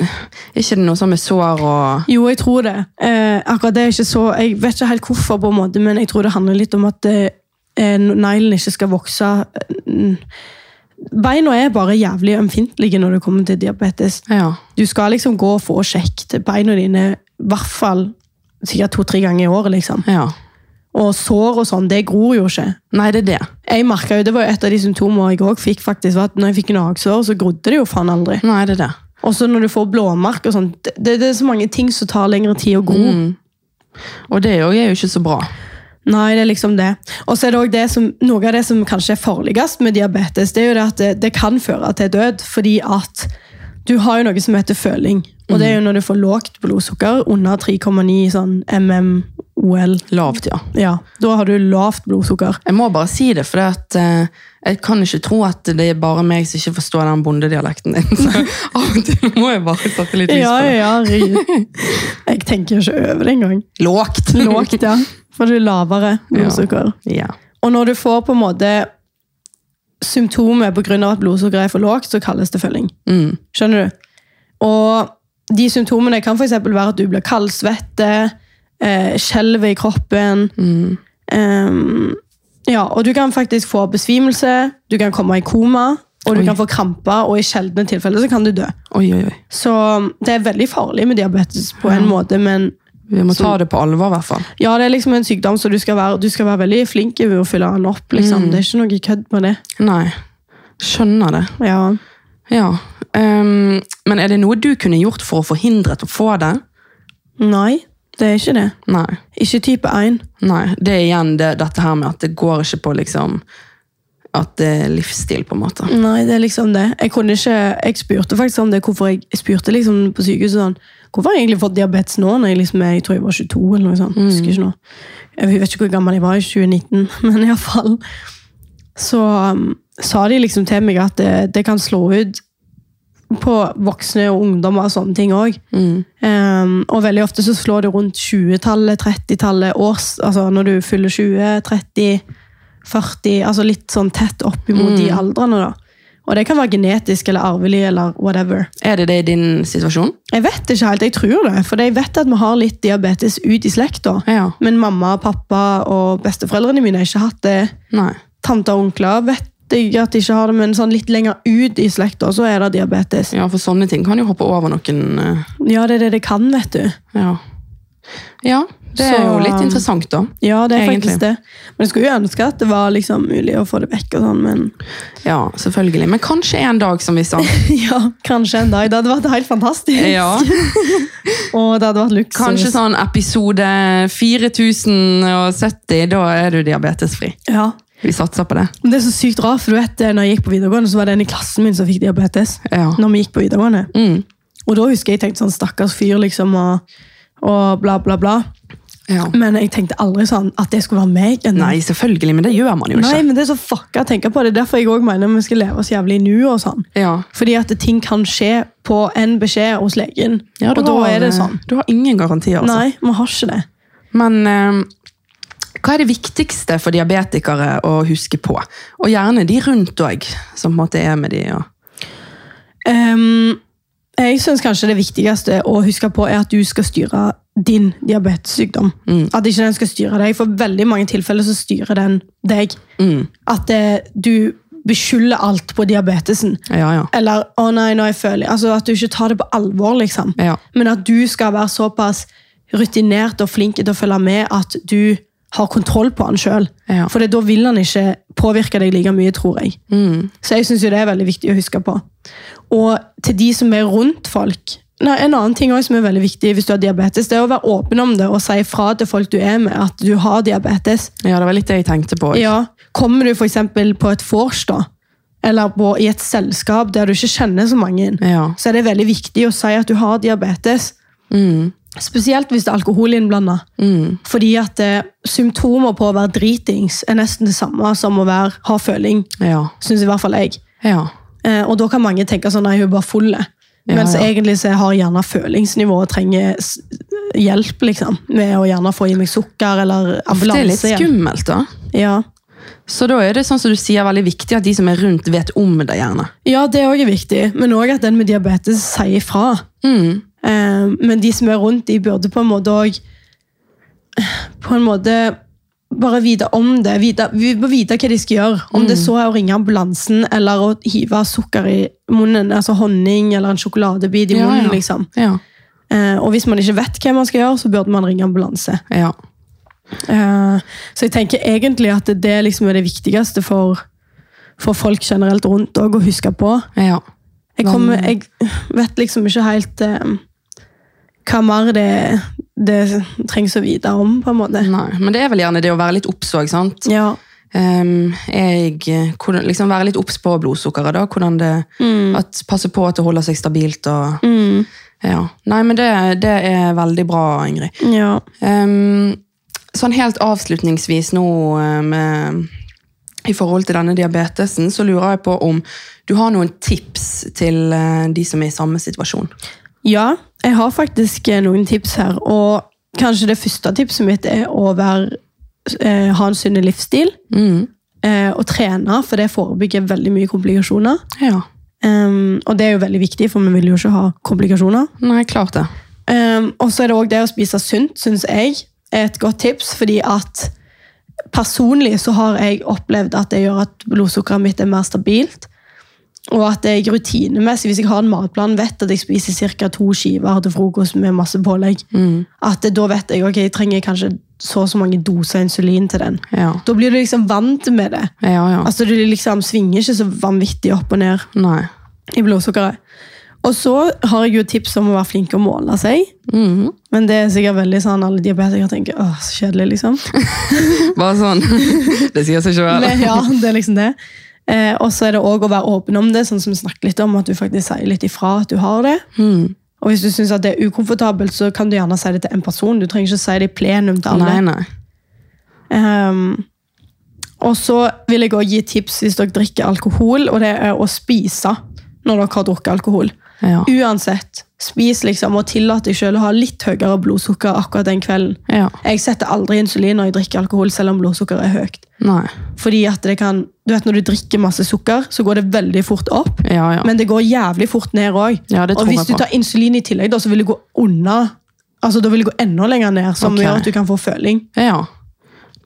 A: Er ikke det noe sånn med sår og
B: Jo, jeg tror det. Eh, akkurat det er ikke så Jeg vet ikke helt hvorfor, på en måte, men jeg tror det handler litt om at eh, eh, neglen ikke skal vokse eh, Beina er bare jævlig ømfintlige når det kommer til diabetes.
A: Ja.
B: Du skal liksom gå og få sjekket beina dine i hvert fall sikkert to-tre ganger i året. liksom.
A: ja.
B: Og sår og sånn, det gror jo ikke.
A: Nei, det er det.
B: Jeg merket jo, Det var jo et av de symptomene jeg også fikk. faktisk, var at Når jeg fikk gnagsår, så grodde det jo faen aldri.
A: Nei, det er det.
B: Og så når du får blåmerk og sånn, det, det er så mange ting som tar lengre tid å gro.
A: Og det er jo er jo ikke så bra.
B: Nei, det er liksom det. Og så er det også det som, noe av det som kanskje er farligst med diabetes, det er jo det at det, det kan føre til død, fordi at du har jo noe som heter føling. Og det er jo
A: Mm.
B: når du får lågt blodsukker, under 3,9 sånn MMOL.
A: Lavt, ja.
B: Ja, da har du lavt blodsukker.
A: Jeg må bare si det, for det at, eh, jeg kan ikke tro at det er bare meg som ikke forstår den bondedialekten din. Så av og til må jeg bare sette litt lys
B: Ja,
A: på det.
B: ja, herregud. Jeg tenker ikke over det engang.
A: Lågt!
B: Lågt, ja. For du er lavere blodsukker.
A: Ja.
B: Og når du får på en måte symptomer pga. at blodsukkeret er for lågt, så kalles det følging. Skjønner du? Og de symptomene kan f.eks. være at du blir kaldsvette, eh, skjelver i kroppen ehm, Ja, og du kan faktisk få besvimelse, du kan komme i koma, og du
A: Oi.
B: kan få kramper, og i sjeldne tilfeller så kan du dø.
A: Oi, oi, oi.
B: Så det er veldig farlig med diabetes på en måte, men
A: Vi må ta det på alvor, i hvert fall.
B: ja, det er liksom en sykdom, så du skal være, du skal være veldig flink Mm. ved å fylle den opp. Liksom. Det er ikke noe kødd med det.
A: Nei. Skjønner det.
B: Ja.
A: Ja. ehm, men er det noe du kunne gjort for å forhindre å få det?
B: Nei, det er ikke det.
A: Nei.
B: Ikke type 1.
A: Nei. Det er igjen det, dette her med at det går ikke på liksom At det er livsstil, på en måte.
B: Nei, det er liksom det. Jeg kunne ikke, jeg spurte faktisk om det, hvorfor jeg, jeg spurte liksom på sykehuset sånn, hvorfor har jeg egentlig fått diabetes nå, når jeg liksom, er- jeg tror jeg var 22 eller noe sånt, husker ikke nå. Jeg vet ikke hvor gammel jeg var i 2019, men i hvert fall, så um, sa de liksom til meg at det, det kan slå ut på voksne og ungdommer og sånne ting også.
A: Mm.
B: Um, og veldig ofte så slår det rundt 20-tallet, 30-tallet, års, altså når du fyller 20, 30, 40, altså litt sånn tett opp imot de aldrene da. Og det kan være genetisk eller arvelig eller whatever.
A: Er det det i din situasjon?
B: Jeg vet ikke helt, jeg tror det, for jeg vet at vi har litt diabetes ut i slekt da.
A: Ja.
B: Men mamma, pappa og besteforeldrene mine har ikke hatt det.
A: Nei.
B: Tante og onkler vet jeg at de ikke har det, men sånn litt lenger ut i slekt da, så er det diabetes.
A: Ja, for sånne ting kan jo hoppe over noen eh,
B: Ja, det er det det kan, vet du.
A: Ja. ja det er
B: Så,
A: jo litt
B: um,
A: interessant, da.
B: Ja, det er
A: Egentlig.
B: faktisk det. Men jeg skulle jo ønske at det var liksom mulig å få det vekk og sånn, men
A: Ja, selvfølgelig. Men kanskje en dag, som vi sa.
B: ja, kanskje en dag. Det hadde vært helt fantastisk.
A: Ja.
B: Og det hadde vært luksus.
A: Kanskje sånn episode 4070, da er du diabetesfri.
B: Ja.
A: Vi satser på det.
B: Men det er så sykt rart, for du vet, eh, når jeg gikk på videregående, så var det en i klassen min som fikk diabetes.
A: Ja.
B: Når vi gikk på videregående.
A: Mm.
B: Og da husker jeg tenkte sånn, stakkars fyr, liksom, og, og bla, bla, bla.
A: Ja.
B: Men jeg tenkte aldri sånn at det skulle være meg. en-
A: Nei, selvfølgelig, men det gjør man jo
B: Nei,
A: ikke.
B: men det er så fucka å tenke på. Det er derfor jeg også mener vi skal leve oss jævlig i nu og sånn.
A: Ja.
B: Fordi at ting kan skje på en beskjed hos legen.
A: Ja, du
B: og da
A: har-
B: er det sånn.
A: Du har ingen garantier, altså.
B: Nei, vi har ikke det.
A: Men eh, hva er det viktigste for diabetikere å huske på? Og gjerne de rundt òg, som på en måte er med de. Og...
B: Ehm, jeg syns kanskje det viktigste å huske på er at du skal styre din diabetessykdom. At ikke den skal styre deg, for veldig mange tilfeller så styrer den deg. At eh, du beskylder alt på diabetesen.
A: Ja, ja.
B: Eller 'å nei, nå er jeg føler Altså At du ikke tar det på alvor, liksom.
A: Ja.
B: Men at du skal være såpass rutinert og flink til å følge med at du har kontroll på han sjøl.
A: Ja.
B: For det- da vil han ikke påvirke deg like mye, tror jeg.
A: Mm.
B: Så jeg syns det er veldig viktig å huske på. Og til de som er rundt folk Nei, En annen ting også som er veldig viktig hvis du har diabetes, det er å være åpen om det og si fra til folk du er med at du har diabetes.
A: ja, det var litt det jeg tenkte på.
B: Ja, Kommer du f.eks. på et vors, da, eller på, i et selskap der du ikke kjenner så mange,
A: Ja.
B: så er det veldig viktig å si at du har diabetes.
A: Mm.
B: Spesielt hvis det er alkohol innblanda. Fordi at eh, symptomer på å være dritings er nesten det samme som å være, ha føling,
A: Ja.
B: syns i hvert fall jeg.
A: ja.
B: Eh, og da kan mange tenke sånn, nei, hun er bare full.
A: Ja,
B: Mens
A: ja.
B: egentlig så har jeg gjerne følingsnivået trenger s- hjelp, liksom. Med å gjerne få i meg sukker eller
A: Det er litt
B: ambulanse. igjen.
A: skummelt, da.
B: Ja.
A: Så da er det sånn som du sier, veldig viktig at de som er rundt, vet om det gjerne.
B: ja, det òg er viktig. Men òg at den med diabetes sier ifra.
A: Mm.
B: Eh, men de som er rundt, de burde på en måte òg På en måte bare vite om det. Vite, vi må vite hva de skal gjøre. Om
A: Mm.
B: det så er å ringe ambulansen eller å hive sukker i munnen. Altså honning eller en sjokoladebit i
A: Ja,
B: munnen.
A: ja.
B: liksom.
A: Ja.
B: Eh, og hvis man ikke vet hva man skal gjøre, så burde man ringe ambulanse.
A: ja.
B: Eh, så jeg tenker egentlig at det, det liksom er det viktigste for, for folk generelt rundt òg å huske på.
A: ja.
B: Jeg, kommer, jeg vet liksom ikke helt eh, hva mer det, det trengs å vite om, på en måte.
A: Nei. Men det er vel gjerne det å være litt obs òg, sant.
B: Ja.
A: Ehm, jeg, eh, hvordan, liksom være litt obs på blodsukkeret, da. Hvordan det,
B: Mm.
A: at, passe på at det holder seg stabilt. Og, ja. Nei, men det, det er veldig bra, Ingrid.
B: ja.
A: Ehm, sånn helt avslutningsvis nå eh, med, i forhold til denne diabetesen, så lurer jeg på om du har noen tips til eh, de som er i samme situasjon.
B: Ja, jeg har faktisk eh, noen tips her. Og kanskje det første tipset mitt er å være, eh, ha en sunn livsstil.
A: Mm,
B: Eh, og trene, for det forebygger veldig mye komplikasjoner.
A: Ja.
B: Um, og det er jo veldig viktig, for vi vil jo ikke ha komplikasjoner.
A: Nei, klart det.
B: Um, og så er det også det å spise sunt, syns jeg, er et godt tips. Fordi at personlig så har jeg opplevd at det gjør at blodsukkeret mitt er mer stabilt. Og at jeg rutinemessig, hvis jeg har en matplan, vet at jeg spiser ca. to skiver til frokost med masse pålegg. At det, da vet jeg ok, jeg trenger kanskje så og så mange doser insulin til den.
A: Ja,
B: Da blir du liksom vant med det.
A: ja. ja.
B: Altså Du liksom svinger ikke så vanvittig opp og ned.
A: Nei.
B: i blodsukkeret. Og så har jeg jo tips om å være flink til å måle seg.
A: Mhm.
B: Men det er sikkert veldig sånn alle diabetikere tenker åh, så kjedelig, liksom.
A: Bare sånn. Det sier seg selv.
B: Men, ja, det er liksom det. Eh, og så er det òg å være åpen om det, sånn som vi snakket litt om, at du faktisk sier litt ifra at du har det.
A: Mhm.
B: Og hvis du syns det er ukomfortabelt, så kan du gjerne si det til en person. Du trenger ikke si det i plenum til alle.
A: Nei, nei.
B: Ehm, og så vil jeg også gi tips hvis dere drikker alkohol, og det er å spise når dere har drukket alkohol.
A: Ja.
B: Uansett, spis liksom og tillat deg selv å ha litt høyere blodsukker akkurat den kvelden.
A: ja.
B: Jeg setter aldri insulin når jeg drikker alkohol, selv om blodsukkeret er høyt.
A: Nei.
B: Fordi at det kan, du vet Når du drikker masse sukker, så går det veldig fort opp.
A: Ja, ja.
B: Men det går jævlig fort ned òg.
A: Ja, det
B: og
A: tror
B: hvis
A: jeg
B: du
A: på.
B: tar insulin i tillegg, da, så vil det gå unna. Altså, Da vil det gå enda lenger ned, som
A: Ok.
B: gjør at du kan få føling.
A: ja.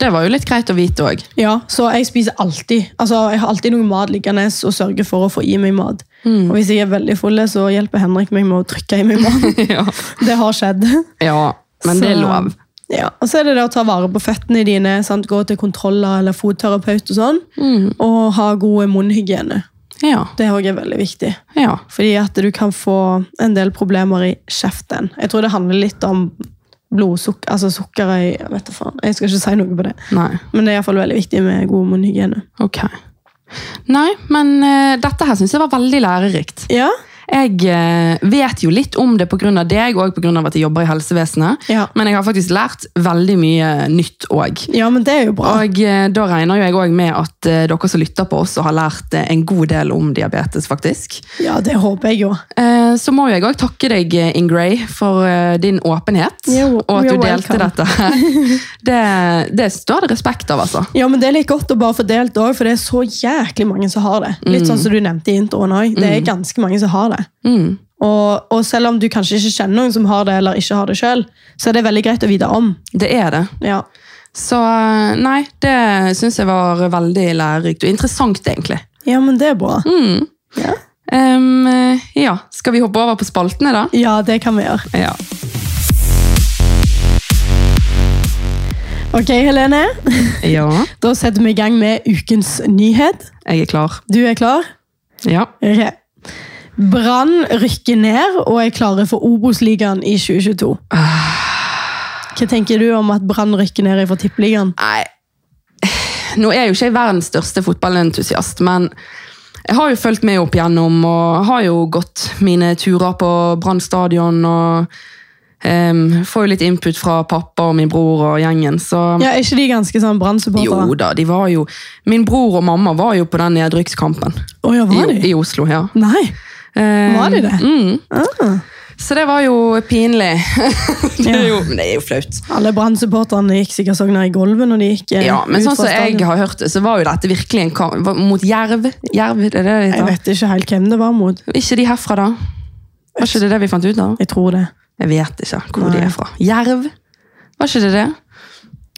A: Det var jo litt greit å vite òg.
B: Ja, så jeg spiser alltid. Altså, Jeg har alltid noe mat liggende og sørger for å få i meg mat.
A: Hmm.
B: Og hvis jeg er veldig full, så hjelper Henrik meg med å trykke i meg mat.
A: ja.
B: Det har skjedd.
A: ja. Men det er
B: Så-
A: lov.
B: Ja, Og så er det det å ta vare på føttene dine, sant? gå til kontroller eller fotterapeut og sånn.
A: Mm.
B: Og ha god munnhygiene.
A: Ja.
B: Det òg er veldig viktig.
A: ja.
B: Fordi at du kan få en del problemer i kjeften. Jeg tror det handler litt om blodsukker, altså sukkeret i jeg Vet da faen. Jeg skal ikke si noe på det.
A: Nei.
B: Men det er iallfall veldig viktig med god munnhygiene.
A: Ok. Nei, men eh, dette her syns jeg var veldig lærerikt.
B: Ja?
A: Jeg eh, vet jo litt om det pga. deg og pga. at jeg jobber i helsevesenet.
B: Ja.
A: Men jeg har faktisk lært veldig mye nytt òg.
B: ja, men det er jo bra.
A: Og eh, da regner jo jeg òg med at eh, dere som lytter på oss og har lært eh, en god del om diabetes, faktisk.
B: Ja, det håper jeg jo.
A: Eh, Så må jo jeg òg takke deg, eh, In Grey, for eh, din åpenhet.
B: Jo,
A: og at du
B: you're
A: delte
B: welcome.
A: dette her. Det, det står det respekt av, altså.
B: Ja, men Det er litt godt å bare få delt òg, for det er så jæklig mange som har det. Litt sånn som du nevnte i introen òg. Det er ganske mange som har det.
A: Mm.
B: Og, og selv om du kanskje ikke kjenner noen som har det, eller ikke har det sjøl, så er det veldig greit å vite om.
A: Det er det.
B: Ja.
A: Så eh, nei, det syns jeg var veldig lærerikt og interessant, egentlig.
B: ja, men det er bra.
A: Mm.
B: Ja.
A: Em, eh, ja, skal vi hoppe over på spaltene, da?
B: ja, det kan vi gjøre.
A: Ja.
B: Ok, Helene.
A: ja.
B: Da setter vi i gang med ukens nyhet.
A: Jeg er klar.
B: Du er klar?
A: Ja.
B: Ok. Brann rykker ned og er klare for Obos-ligaen i 2022.
A: Ah.
B: Hva tenker du om at Brann rykker ned fra Tippeligaen?
A: Nei, nå er jo ikke jeg verdens største fotballentusiast, men jeg har jo fulgt med opp gjennom og har jo gått mine turer på Brann stadion og em, får jo litt input fra pappa og min bror og gjengen, så
B: Ja, Er ikke de ganske sånn Brann-supportere?
A: Jo da, de var jo Min bror og mamma var jo på den nedrykkskampen
B: Å ja, var
A: i,
B: de?
A: i Oslo, ja.
B: Nei.
A: Em,
B: Var de det?
A: Mm,
B: Ah.
A: så det var jo pinlig. det,
B: Ja.
A: er jo, det er jo flaut.
B: Alle Brann-supporterne gikk sikkert sånn ned i gulvet når de gikk eh,
A: Mm. Ja, men
B: ut
A: sånn
B: fra
A: som jeg
B: stadion.
A: har hørt det, så var jo dette virkelig en kamp var- mot Jerv. Jerv, er det det det
B: Jeg
A: heter?
B: vet ikke helt hvem det var mot.
A: Ikke de herfra, da? Var ikke det det vi fant ut av?
B: Jeg tror det.
A: Jeg vet ikke hvor de
B: Nei.
A: er fra. Jerv? Var ikke det det?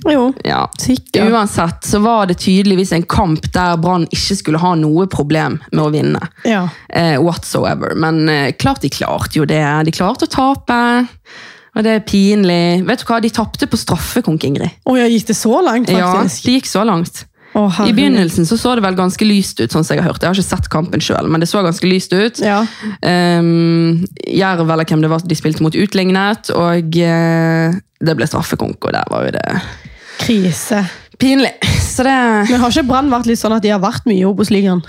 B: Jo,
A: Ja.
B: sikkert.
A: Uansett så var det tydeligvis en kamp der Brann ikke skulle ha noe problem med å vinne.
B: Ja.
A: Eh, whatsoever. Men eh, klart de klarte jo det. De klarte å tape. Og det er pinlig. Vet du hva, de tapte på straffekonk, Ingrid.
B: Å ja, gikk det så langt,
A: Ja,
B: faktisk?
A: det gikk så langt.
B: Å,
A: I
B: herregud.
A: begynnelsen så så det vel ganske lyst ut, sånn som jeg har hørt. Jeg har ikke sett kampen sjøl, men det så ganske lyst ut.
B: Ja.
A: Ehm, Jerv eller hvem det var de spilte mot, utlignet, og eh, det ble straffekonk, og der var jo det
B: Krise.
A: pinlig. Så det
B: Men har ikke Brann vært litt sånn at de har vært mye i Obos-ligaen?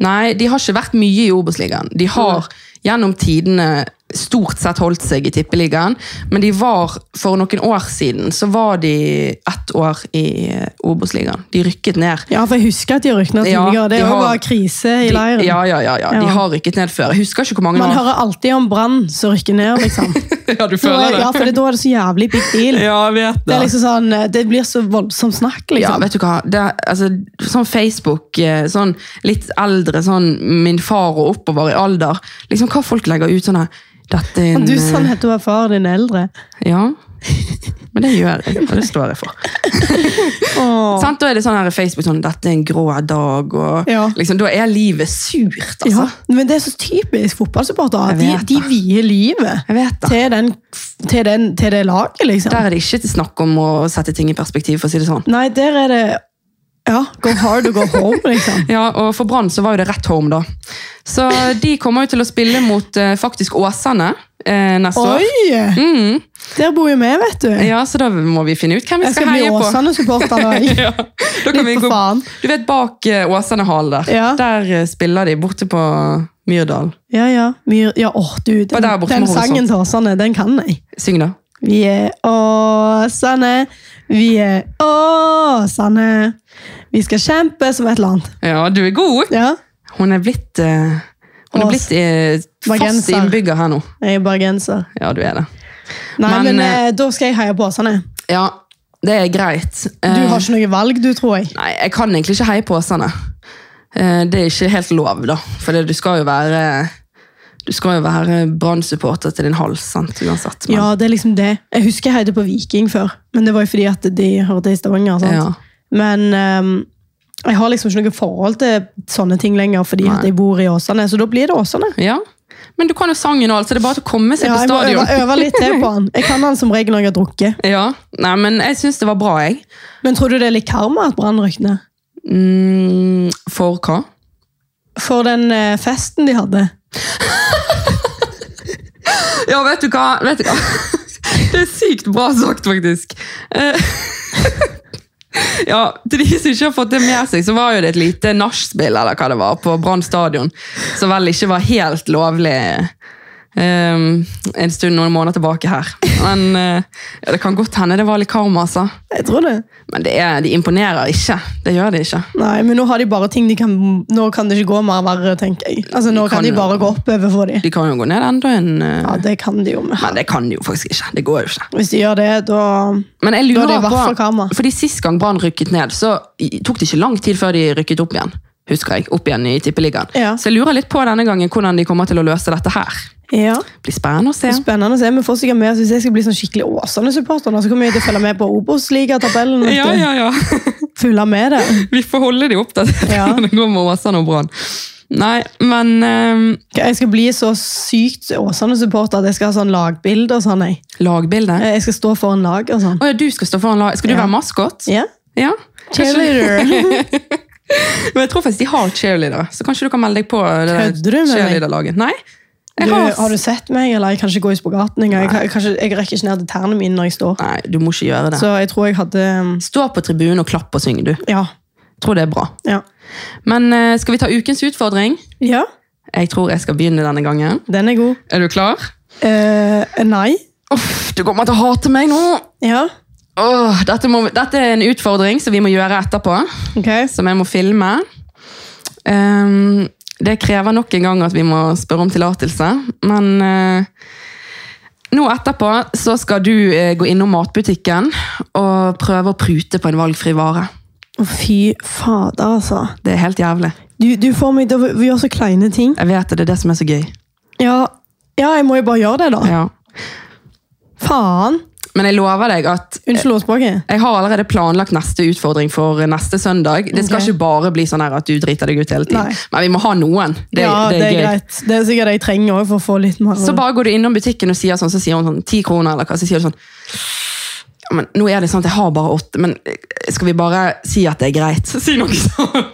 A: Nei, de har ikke vært mye i Obos-ligaen. De har gjennom tidene stort sett holdt seg i Tippeligaen, men de var for noen år siden så var de ett år i eh, Obos-ligaen. De rykket ned.
B: Ja, for jeg husker at de rykna
A: Ja,
B: tidligere. Det
A: de
B: var
A: har-
B: bare krise i
A: De,
B: leiren.
A: ja, ja, ja, ja. De
B: Ja.
A: har rykket ned før. Jeg husker ikke hvor mange
B: Man
A: det var.
B: hører alltid om Brann som rykker ned, liksom.
A: Ja, du
B: Nå
A: føler
B: er,
A: det.
B: ja, for det, da er det så jævlig big deal.
A: Ja, jeg vet
B: Det, er liksom sånn, eh, det blir så voldsomt snakk,
A: Ja,
B: liksom.
A: vet du hva? Det, er- altså, sånn Facebook, eh, sånn litt eldre, sånn min far og oppover i alder, liksom hva folk legger ut sånn her, dette er en...
B: du sa
A: eh,
B: nettopp at faren din er eldre.
A: Ja, men det gjør jeg, og det står jeg for.
B: Åh.
A: Sant? Da er det sånn her i Facebook, sånn, dette er en grå dag, og
B: Ja.
A: liksom, da er livet surt,
B: Ja,
A: altså.
B: men det er så typisk fotballsupportere.
A: Jeg
B: De,
A: vet
B: de
A: det.
B: vier livet
A: Jeg vet det.
B: til, den, til, den, til det laget, liksom.
A: Der er det ikke til snakk om å sette ting i perspektiv, for å si det sånn.
B: Nei, der er det Ja, go hard og go home, liksom.
A: Ja, og For Brann så var jo det rett home, da. Så de kommer jo til å spille mot eh, faktisk Åsane eh, neste år.
B: Oi!
A: Mm.
B: Der bor jo vi, vet du. Jeg
A: Ja, Så da må vi finne ut hvem vi
B: skal
A: skal,
B: bli
A: heie på.
B: Åsane-supporter nå.
A: Ja, da kan
B: Litt
A: vi
B: på
A: gå,
B: faen.
A: du vet bak eh, Åsane hall der.
B: Ja.
A: Der eh, spiller de borte på Myrdal.
B: Ja, ja. Myr, ja, åh, du.
A: Og
B: Den,
A: der borte sånn.
B: den
A: med horisont.
B: sangen til Åsane, den kan jeg.
A: Syng, da.
B: Vi er Åsane, vi er Åsane. Vi skal kjempe som et eller annet.
A: Ja, du er god!
B: Ja,
A: Hun er blitt, eh, hun
B: Ås-
A: er blitt eh, fast
B: Bergenser.
A: innbygger her nå.
B: jeg er bergenser.
A: Ja, du er det.
B: Nei,
A: Men,
B: men, eh, da skal jeg heie på Åsane.
A: Ja, det er greit.
B: Du
A: Eh,
B: har ikke noe valg, du, tror jeg.
A: Nei, jeg kan egentlig ikke heie på Åsane. Eh, Det er ikke helt lov, da. For det, du skal jo være du skal jo være Brann-supporter til din hals, sant, uansett. men-
B: Ja, det er liksom det. Jeg husker jeg heide på Viking før, men det var jo fordi at de hørte i Stavanger. sant?
A: Ja.
B: Men ehm, jeg har liksom ikke noe forhold til sånne ting lenger, fordi at
A: Nei.
B: jeg bor i Åsane, så da blir det Åsane.
A: ja. Men du kan jo sangen og alt, så det er bare til å komme seg
B: Ja,
A: på
B: jeg må
A: stadion.
B: øve, øve litt til på han. Jeg kan han som regel når jeg har drukket.
A: Ja, Nei, men jeg syns det var bra, jeg.
B: Men tror du det er litt karma at Brann røk ned?
A: Mm, for hva?
B: For den eh, festen de hadde.
A: Ja, vet du hva? Vet du hva? Det er sykt bra sagt, faktisk. Eh, Ja, Til de som ikke har fått det med seg, så var jo det et lite nachspiel eller hva det var, på Brann stadion, som vel ikke var helt lovlig eh, en stund noen måneder tilbake her. Men eh, ja, det kan godt hende det var litt karma, altså.
B: Jeg tror det.
A: Men det er, de imponerer ikke. Det gjør de ikke.
B: Nei, men nå har de bare ting de kan Nå kan det ikke gå mer verre, tenker jeg. Altså, Nå
A: De
B: kan,
A: kan
B: de
A: jo-
B: bare gå oppover for dem.
A: De kan jo gå ned enda en eh,
B: Ja, det kan de jo. Men
A: Men det kan de jo faktisk ikke. Det går jo ikke.
B: hvis de gjør det, da
A: Men jeg
B: Da er det
A: lurer
B: i hvert fall karma.
A: på, fordi Sist gang Brann rykket ned, så i- tok det ikke lang tid før de rykket opp igjen. husker jeg, opp igjen i tippeligaen.
B: Ja.
A: Så jeg lurer litt på denne gangen hvordan de kommer til å løse dette her.
B: Ja.
A: Blir spennende å se.
B: Spennende å se. Vi får sikkert med oss hvis jeg skal bli sånn skikkelig Åsane-supporter. nå, Så kommer jeg til å følge med på Obos-ligatabellen. vet du.
A: ja.
B: Følge med der.
A: Vi får holde de oppdatert
B: Ja.
A: når det går med Åsane og Brann. Nei, men eh,
B: Jeg skal bli så sykt Åsane-supporter at jeg skal ha sånn lagbilde og sånn. Jeg.
A: lagbildet
B: jeg skal stå foran lag og sånn.
A: Å ja, du skal stå foran lag. Skal du
B: Ja.
A: være maskot?
B: Ja.
A: Ja.
B: Cheerleader.
A: Men jeg tror faktisk de har cheerleadere, så kanskje du kan melde deg på det der
B: Kødder du med meg?
A: cheerleaderlaget. Nei,
B: Du,
A: jeg har...
B: har du sett meg, eller? Jeg kan ikke gå i spagaten engang. Jeg, kan- jeg, kan ikke- jeg rekker ikke ned til tærne mine når jeg står.
A: Nei, du må ikke gjøre det.
B: Så jeg tror jeg hadde um,
A: Stå på tribunen og klapp og syng, du.
B: Ja.
A: tror det er bra.
B: Ja,
A: Men eh, skal vi ta ukens utfordring?
B: ja
A: Jeg tror jeg skal begynne denne gangen.
B: den er god.
A: Er du klar?
B: Eh, nei.
A: Uff, du kommer til å hate meg nå!
B: Ja.
A: Åh, dette, må, vi- dette er en utfordring som vi må gjøre etterpå,
B: Ok.
A: som jeg må filme. Ehm, det krever nok en gang at vi må spørre om tillatelse, men eh, nå etterpå så skal du eh, gå innom matbutikken og prøve å prute på en valgfri vare.
B: Å, fy fader, altså.
A: Det er helt jævlig.
B: Du, du får meg til å gjøre så kleine ting.
A: Jeg vet det, det er det som er så gøy.
B: Ja, ja jeg må jo bare gjøre det, da.
A: Ja.
B: Faen!
A: Men jeg lover deg at
B: Unnskyld ordspråket.
A: Jeg har allerede planlagt neste utfordring for neste søndag. Det skal
B: Ok.
A: ikke bare bli sånn her at du driter deg ut hele tiden.
B: Nei.
A: Men vi må ha noen. Det,
B: ja,
A: det er, gøy.
B: greit. Det er sikkert det jeg trenger også for å få litt mer
A: Så bare går du innom butikken og sier sånn, så sier hun sånn, ti kroner eller hva, så sier du sånn, «Ja, men nå er det sånn at jeg har bare åtte, men skal vi bare si at det er greit? Si noe sånn.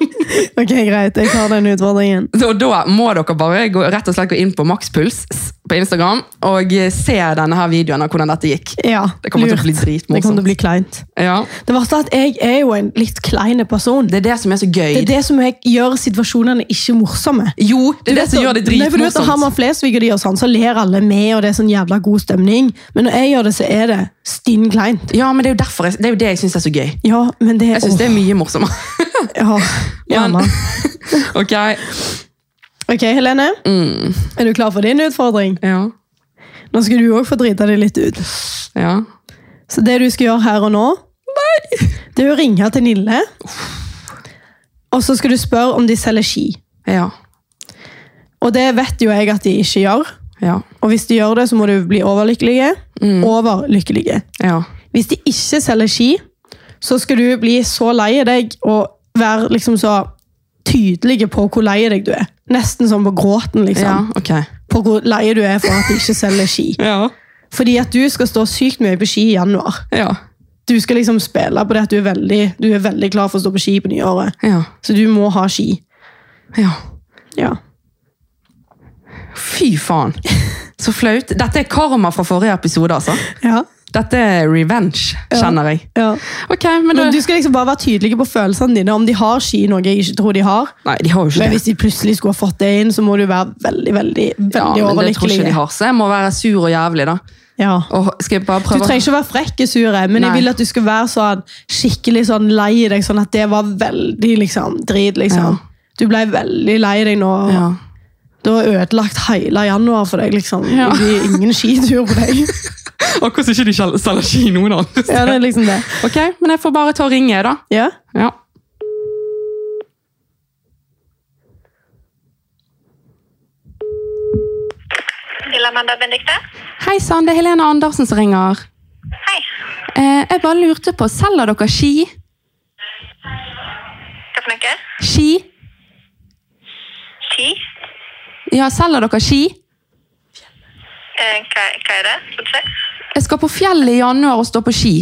B: Ok, greit. Jeg tar den utfordringen.
A: Og da må dere bare gå, rett og slett gå inn på Maxpuls på Instagram og eh, se denne her videoen av hvordan dette gikk.
B: Ja,
A: Det kommer til å
B: lurt.
A: bli
B: Det kommer til å
A: dritmorsomt.
B: bli kleint.
A: Ja.
B: Det verste er at jeg er jo en litt kleine person.
A: Det er det som er så gøy.
B: Det er det som jeg gjør situasjonene ikke morsomme.
A: Jo, det er det som gjør det
B: Nei, for du vet, når
A: dritmorsomt.
B: Herman Flesvig og de gjør sånn, så ler alle med, og det er sånn jævla god stemning. Men når jeg gjør det, så er det stinn kleint.
A: Ja, men det er jo derfor jeg, det er jo det jeg syns er så gøy.
B: Ja, men det
A: Jeg syns det er mye morsommere.
B: Ja, ja,
A: Men-
B: man.
A: ok,
B: Ok, Helene.
A: Mm.
B: Er du klar for din utfordring?
A: ja,
B: Nå skal du òg få drita deg litt ut.
A: ja.
B: Så det du skal gjøre her og nå, det er å ringe til Nille. Og så skal du spørre om de selger ski.
A: Ja.
B: Og det vet jo jeg at de ikke gjør.
A: Ja.
B: Og hvis de gjør det, så må du bli overlykkelige. Overlykkelige.
A: ja.
B: Hvis de ikke selger ski, så skal du bli så lei deg og være liksom så tydelig på hvor lei deg du er. Nesten som på
A: ja.
B: gråten, liksom.
A: Ok.
B: På hvor lei du er for at de ikke selger ski.
A: Ja.
B: Fordi at du skal stå sykt mye på ski i januar.
A: Ja.
B: Du skal liksom spille på det at du er veldig, du er veldig klar for å stå på ski på nyåret.
A: Ja.
B: Så du må ha ski.
A: ja.
B: Ja.
A: Fy faen. Så flaut. Dette er karma fra forrige episode, altså.
B: Ja.
A: Dette er revenge, kjenner jeg.
B: ja.
A: Ok, men da...
B: Men du skal liksom bare være tydelig på følelsene dine. Om de har ski, noe jeg ikke tror de har.
A: Nei, de har jo ikke
B: Men
A: det.
B: hvis de plutselig skulle ha fått det inn, så må du være veldig veldig, veldig
A: Ja, men det tror
B: overlykkelig.
A: ikke de har. Så jeg må være sur og jævlig, da.
B: Ja.
A: Og skal jeg bare
B: Du
A: prøve...
B: trenger ikke å være frekk og sur, men
A: Nei.
B: jeg vil at du skal være sånn, skikkelig sånn lei deg. Sånn at det var veldig liksom, drit,
A: Ja.
B: liksom. Du ble veldig lei deg nå.
A: Ja.
B: Du har ødelagt hele januar for deg. liksom.
A: Ja.
B: Det blir ingen skitur på deg.
A: Akkurat som ikke de selger- selger ski noen andre.
B: Ja, det er liksom det.
A: Ok, men jeg får bare ta og ringe, jeg, da.
B: Ja.
A: Ja.
C: Til Amanda Benedicte?
A: Hei sann, det er Helene Andersen som ringer.
C: Hei.
A: Eh, jeg bare lurte på, selger dere ski?
C: Hva for noe?
A: Ski?
C: Ski?
A: Ja, selger dere ski?
C: Eh, hva, hva er det? Skal du se?
A: Jeg skal på fjellet i januar og stå på ski.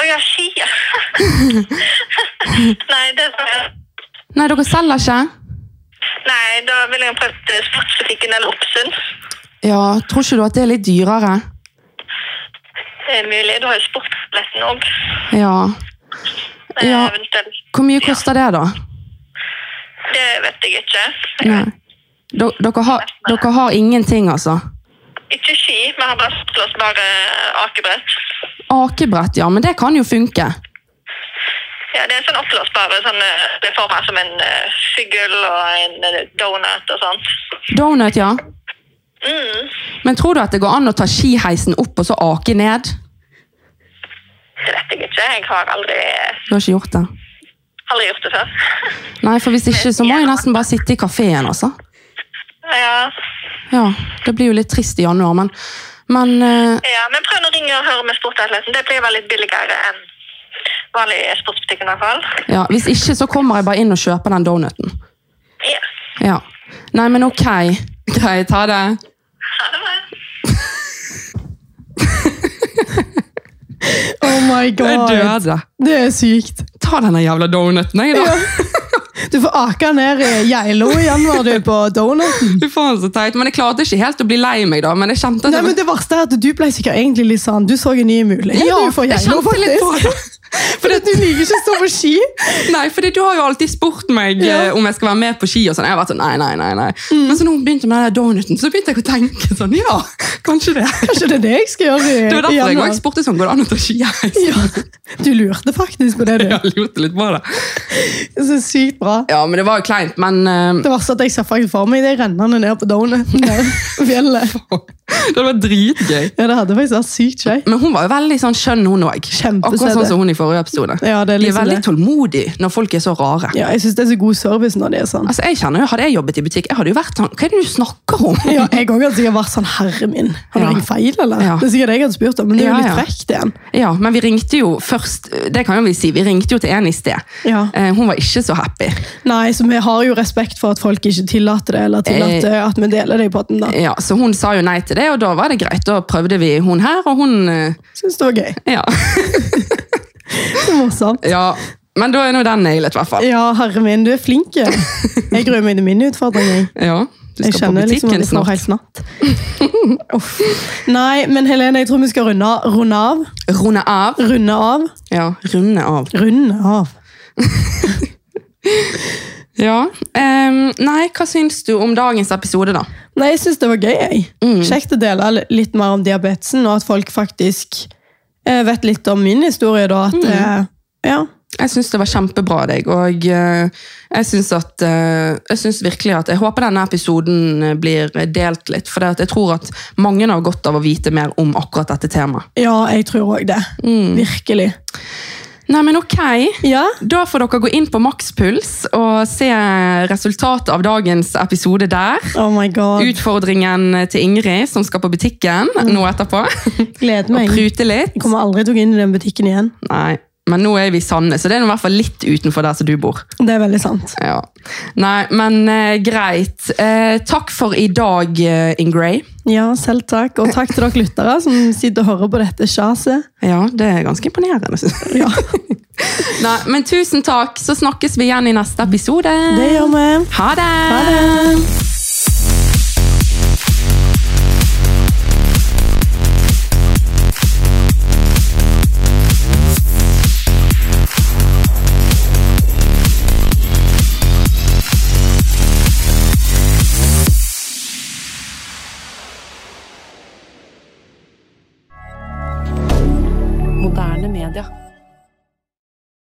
C: Å ja, ski, ja. Nei, det er sånn.
A: Nei, dere selger ikke?
C: Nei, da ville jeg prøvd eh, Sportsbutikken eller Oppsund.
A: Ja, tror ikke du at det er litt dyrere?
C: Det er mulig. Du har jo sportsbilletten Eh, òg.
A: Ja. Ja. Hvor mye koster det, da?
C: Det vet jeg ikke.
A: Nei. D- Dere har, dere har ingenting, altså?
C: Ikke ski, vi har bare slåsbare akebrett.
A: Akebrett, ja, men det kan jo funke.
C: Ja, det er sånn oppblåsbare sånn, eh, det er formet som en eh, fugl og en eh, donut og sånt.
A: Donut, ja.
C: Mm.
A: Men tror du at det går an å ta skiheisen opp og så ake ned?
C: Det vet jeg ikke. Jeg har aldri,
A: Du har ikke gjort det?
C: aldri gjort det før.
A: Nei, for hvis ikke så må jeg nesten bare sitte i kafeen, altså.
C: Ja,
A: Ja, det blir jo litt trist i januar, men, men eh,
C: ja men prøv å ringe og høre med sportatleten. Det blir vel litt billigere enn vanlig i sportsbutikken i hvert fall.
A: ja, hvis ikke så kommer jeg bare inn og kjøper den donuten.
C: Ja.
A: Ja. Nei, men ok. Greit, ha det.
C: Ha det bra.
B: Oh my god! Det er sykt.
A: Ta denne jævla donuten, jeg, da.
B: Du får ake ned i Geilo i januar du på donuten.
A: Fy faen, så teit. Men jeg klarte ikke helt å bli lei meg, da. Men jeg kjente at
B: Nei, men
A: jeg-
B: Det verste er at du ble sikkert egentlig litt sånn Du så en ny mulighet
A: Ja,
B: du for
A: jeg
B: Geilo,
A: kjente litt på
B: faktisk.
A: det.
B: Fordi at du liker ikke å stå på ski.
A: Nei, fordi du har jo alltid spurt meg
B: Ja. Mm.
A: eh, om jeg skal være med på ski og sånn. Jeg har vært sånn, nei, nei, nei, nei. Men så når hun begynte med den der donuten, så begynte jeg å tenke sånn, ja, kanskje det.
B: Kanskje det er det jeg skal gjøre i,
A: Det var
B: i
A: derfor jeg
B: januar.
A: også spurte sånn, går det an å ta skiheis?
B: Ja, du lurte faktisk på det, du.
A: Jeg lurte litt på det.
B: Så sykt bra.
A: Ja, men det var jo kleint, men eh,
B: Det verste er at jeg ser faktisk for meg det rennende ned på donuten der på fjellet.
A: det var dritgøy.
B: Ja, det hadde faktisk vært sykt skjøy.
A: Men hun var jo veldig sånn skjønn, hun også.
B: Kjempesøt.
A: Akkurat sånn som hun i forrige episode.
B: Ja, det er
A: De er
B: liksom
A: veldig
B: det.
A: tålmodige når folk er så rare.
B: Ja, jeg syns det er så god service når det er sånn.
A: Altså, jeg kjenner jo, Hadde jeg jobbet i butikk, jeg hadde jo vært sånn Hva er det du snakker om?
B: Ja, jeg også hadde sikkert vært sånn herre min. Har du
A: Ja.
B: ringt feil, eller?
A: Ja.
B: Det er sikkert jeg hadde spurt om, men det er jo
A: Ja,
B: litt
A: ja.
B: frekt igjen.
A: Ja, men vi ringte jo først Det kan jo vi si, vi ringte jo til en i sted.
B: Ja.
A: Eh, Hun var ikke så happy.
B: Nei, så vi har jo respekt for at folk ikke tillater det, eller tillater
A: Eh.
B: at vi deler det i potten, da.
A: Ja, Så hun sa jo nei til det, og da var det greit. Da prøvde vi hun her, og hun eh,
B: Syns det var gøy.
A: Ja.
B: Det var Morsomt.
A: ja. Men da er nå den nailet, i hvert fall.
B: Ja, herre min, du er flink. jeg. Jeg gruer meg til min utfordring. Jeg.
A: Ja, Du
B: Jeg
A: skal på
B: kjenner liksom
A: butikken
B: at jeg får
A: snart.
B: helt snart. Uff. Nei, men Helene, jeg tror vi skal runde av. Runde av.
A: Runde av.
B: Runde av.
A: Ja, runde av.
B: Runde av.
A: Ja. ehm, nei, hva syns du om dagens episode, da?
B: Nei, jeg syns det var gøy. jeg.
A: Mm.
B: Kjekt å dele li- litt mer om diabetesen, og at folk faktisk eh, vet litt om min historie. da,
A: Mm.
B: at eh, ja.
A: Jeg syns det var kjempebra av deg, og eh, jeg syns at eh, Jeg synes virkelig at Jeg håper denne episoden eh, blir delt litt, for det at jeg tror at mange har godt av å vite mer om akkurat dette temaet.
B: ja, jeg tror òg det.
A: Mm.
B: Virkelig.
A: Nei, men ok.
B: Ja.
A: Da får dere gå inn på makspuls og se resultatet av dagens episode der.
B: Oh my god.
A: Utfordringen til Ingrid, som skal på butikken nå etterpå.
B: Gleder
A: Og
B: meg.
A: prute litt.
B: Kommer aldri til å gå inn i den butikken igjen.
A: Nei, Men nå er vi i Sandnes, så det er nå i hvert fall litt utenfor der som du bor.
B: Det er veldig sant.
A: Ja. Nei, men eh, greit. Eh, takk for i dag, eh, Ingray.
B: Ja, selv takk. Og takk til dere lyttere som sitter og hører på dette sjaset.
A: Ja, det er ganske imponerende. synes jeg.
B: Ja,
A: Nei, men tusen takk. Så snakkes vi igjen i neste episode.
B: det gjør vi.
A: Ha det!
B: Ha det!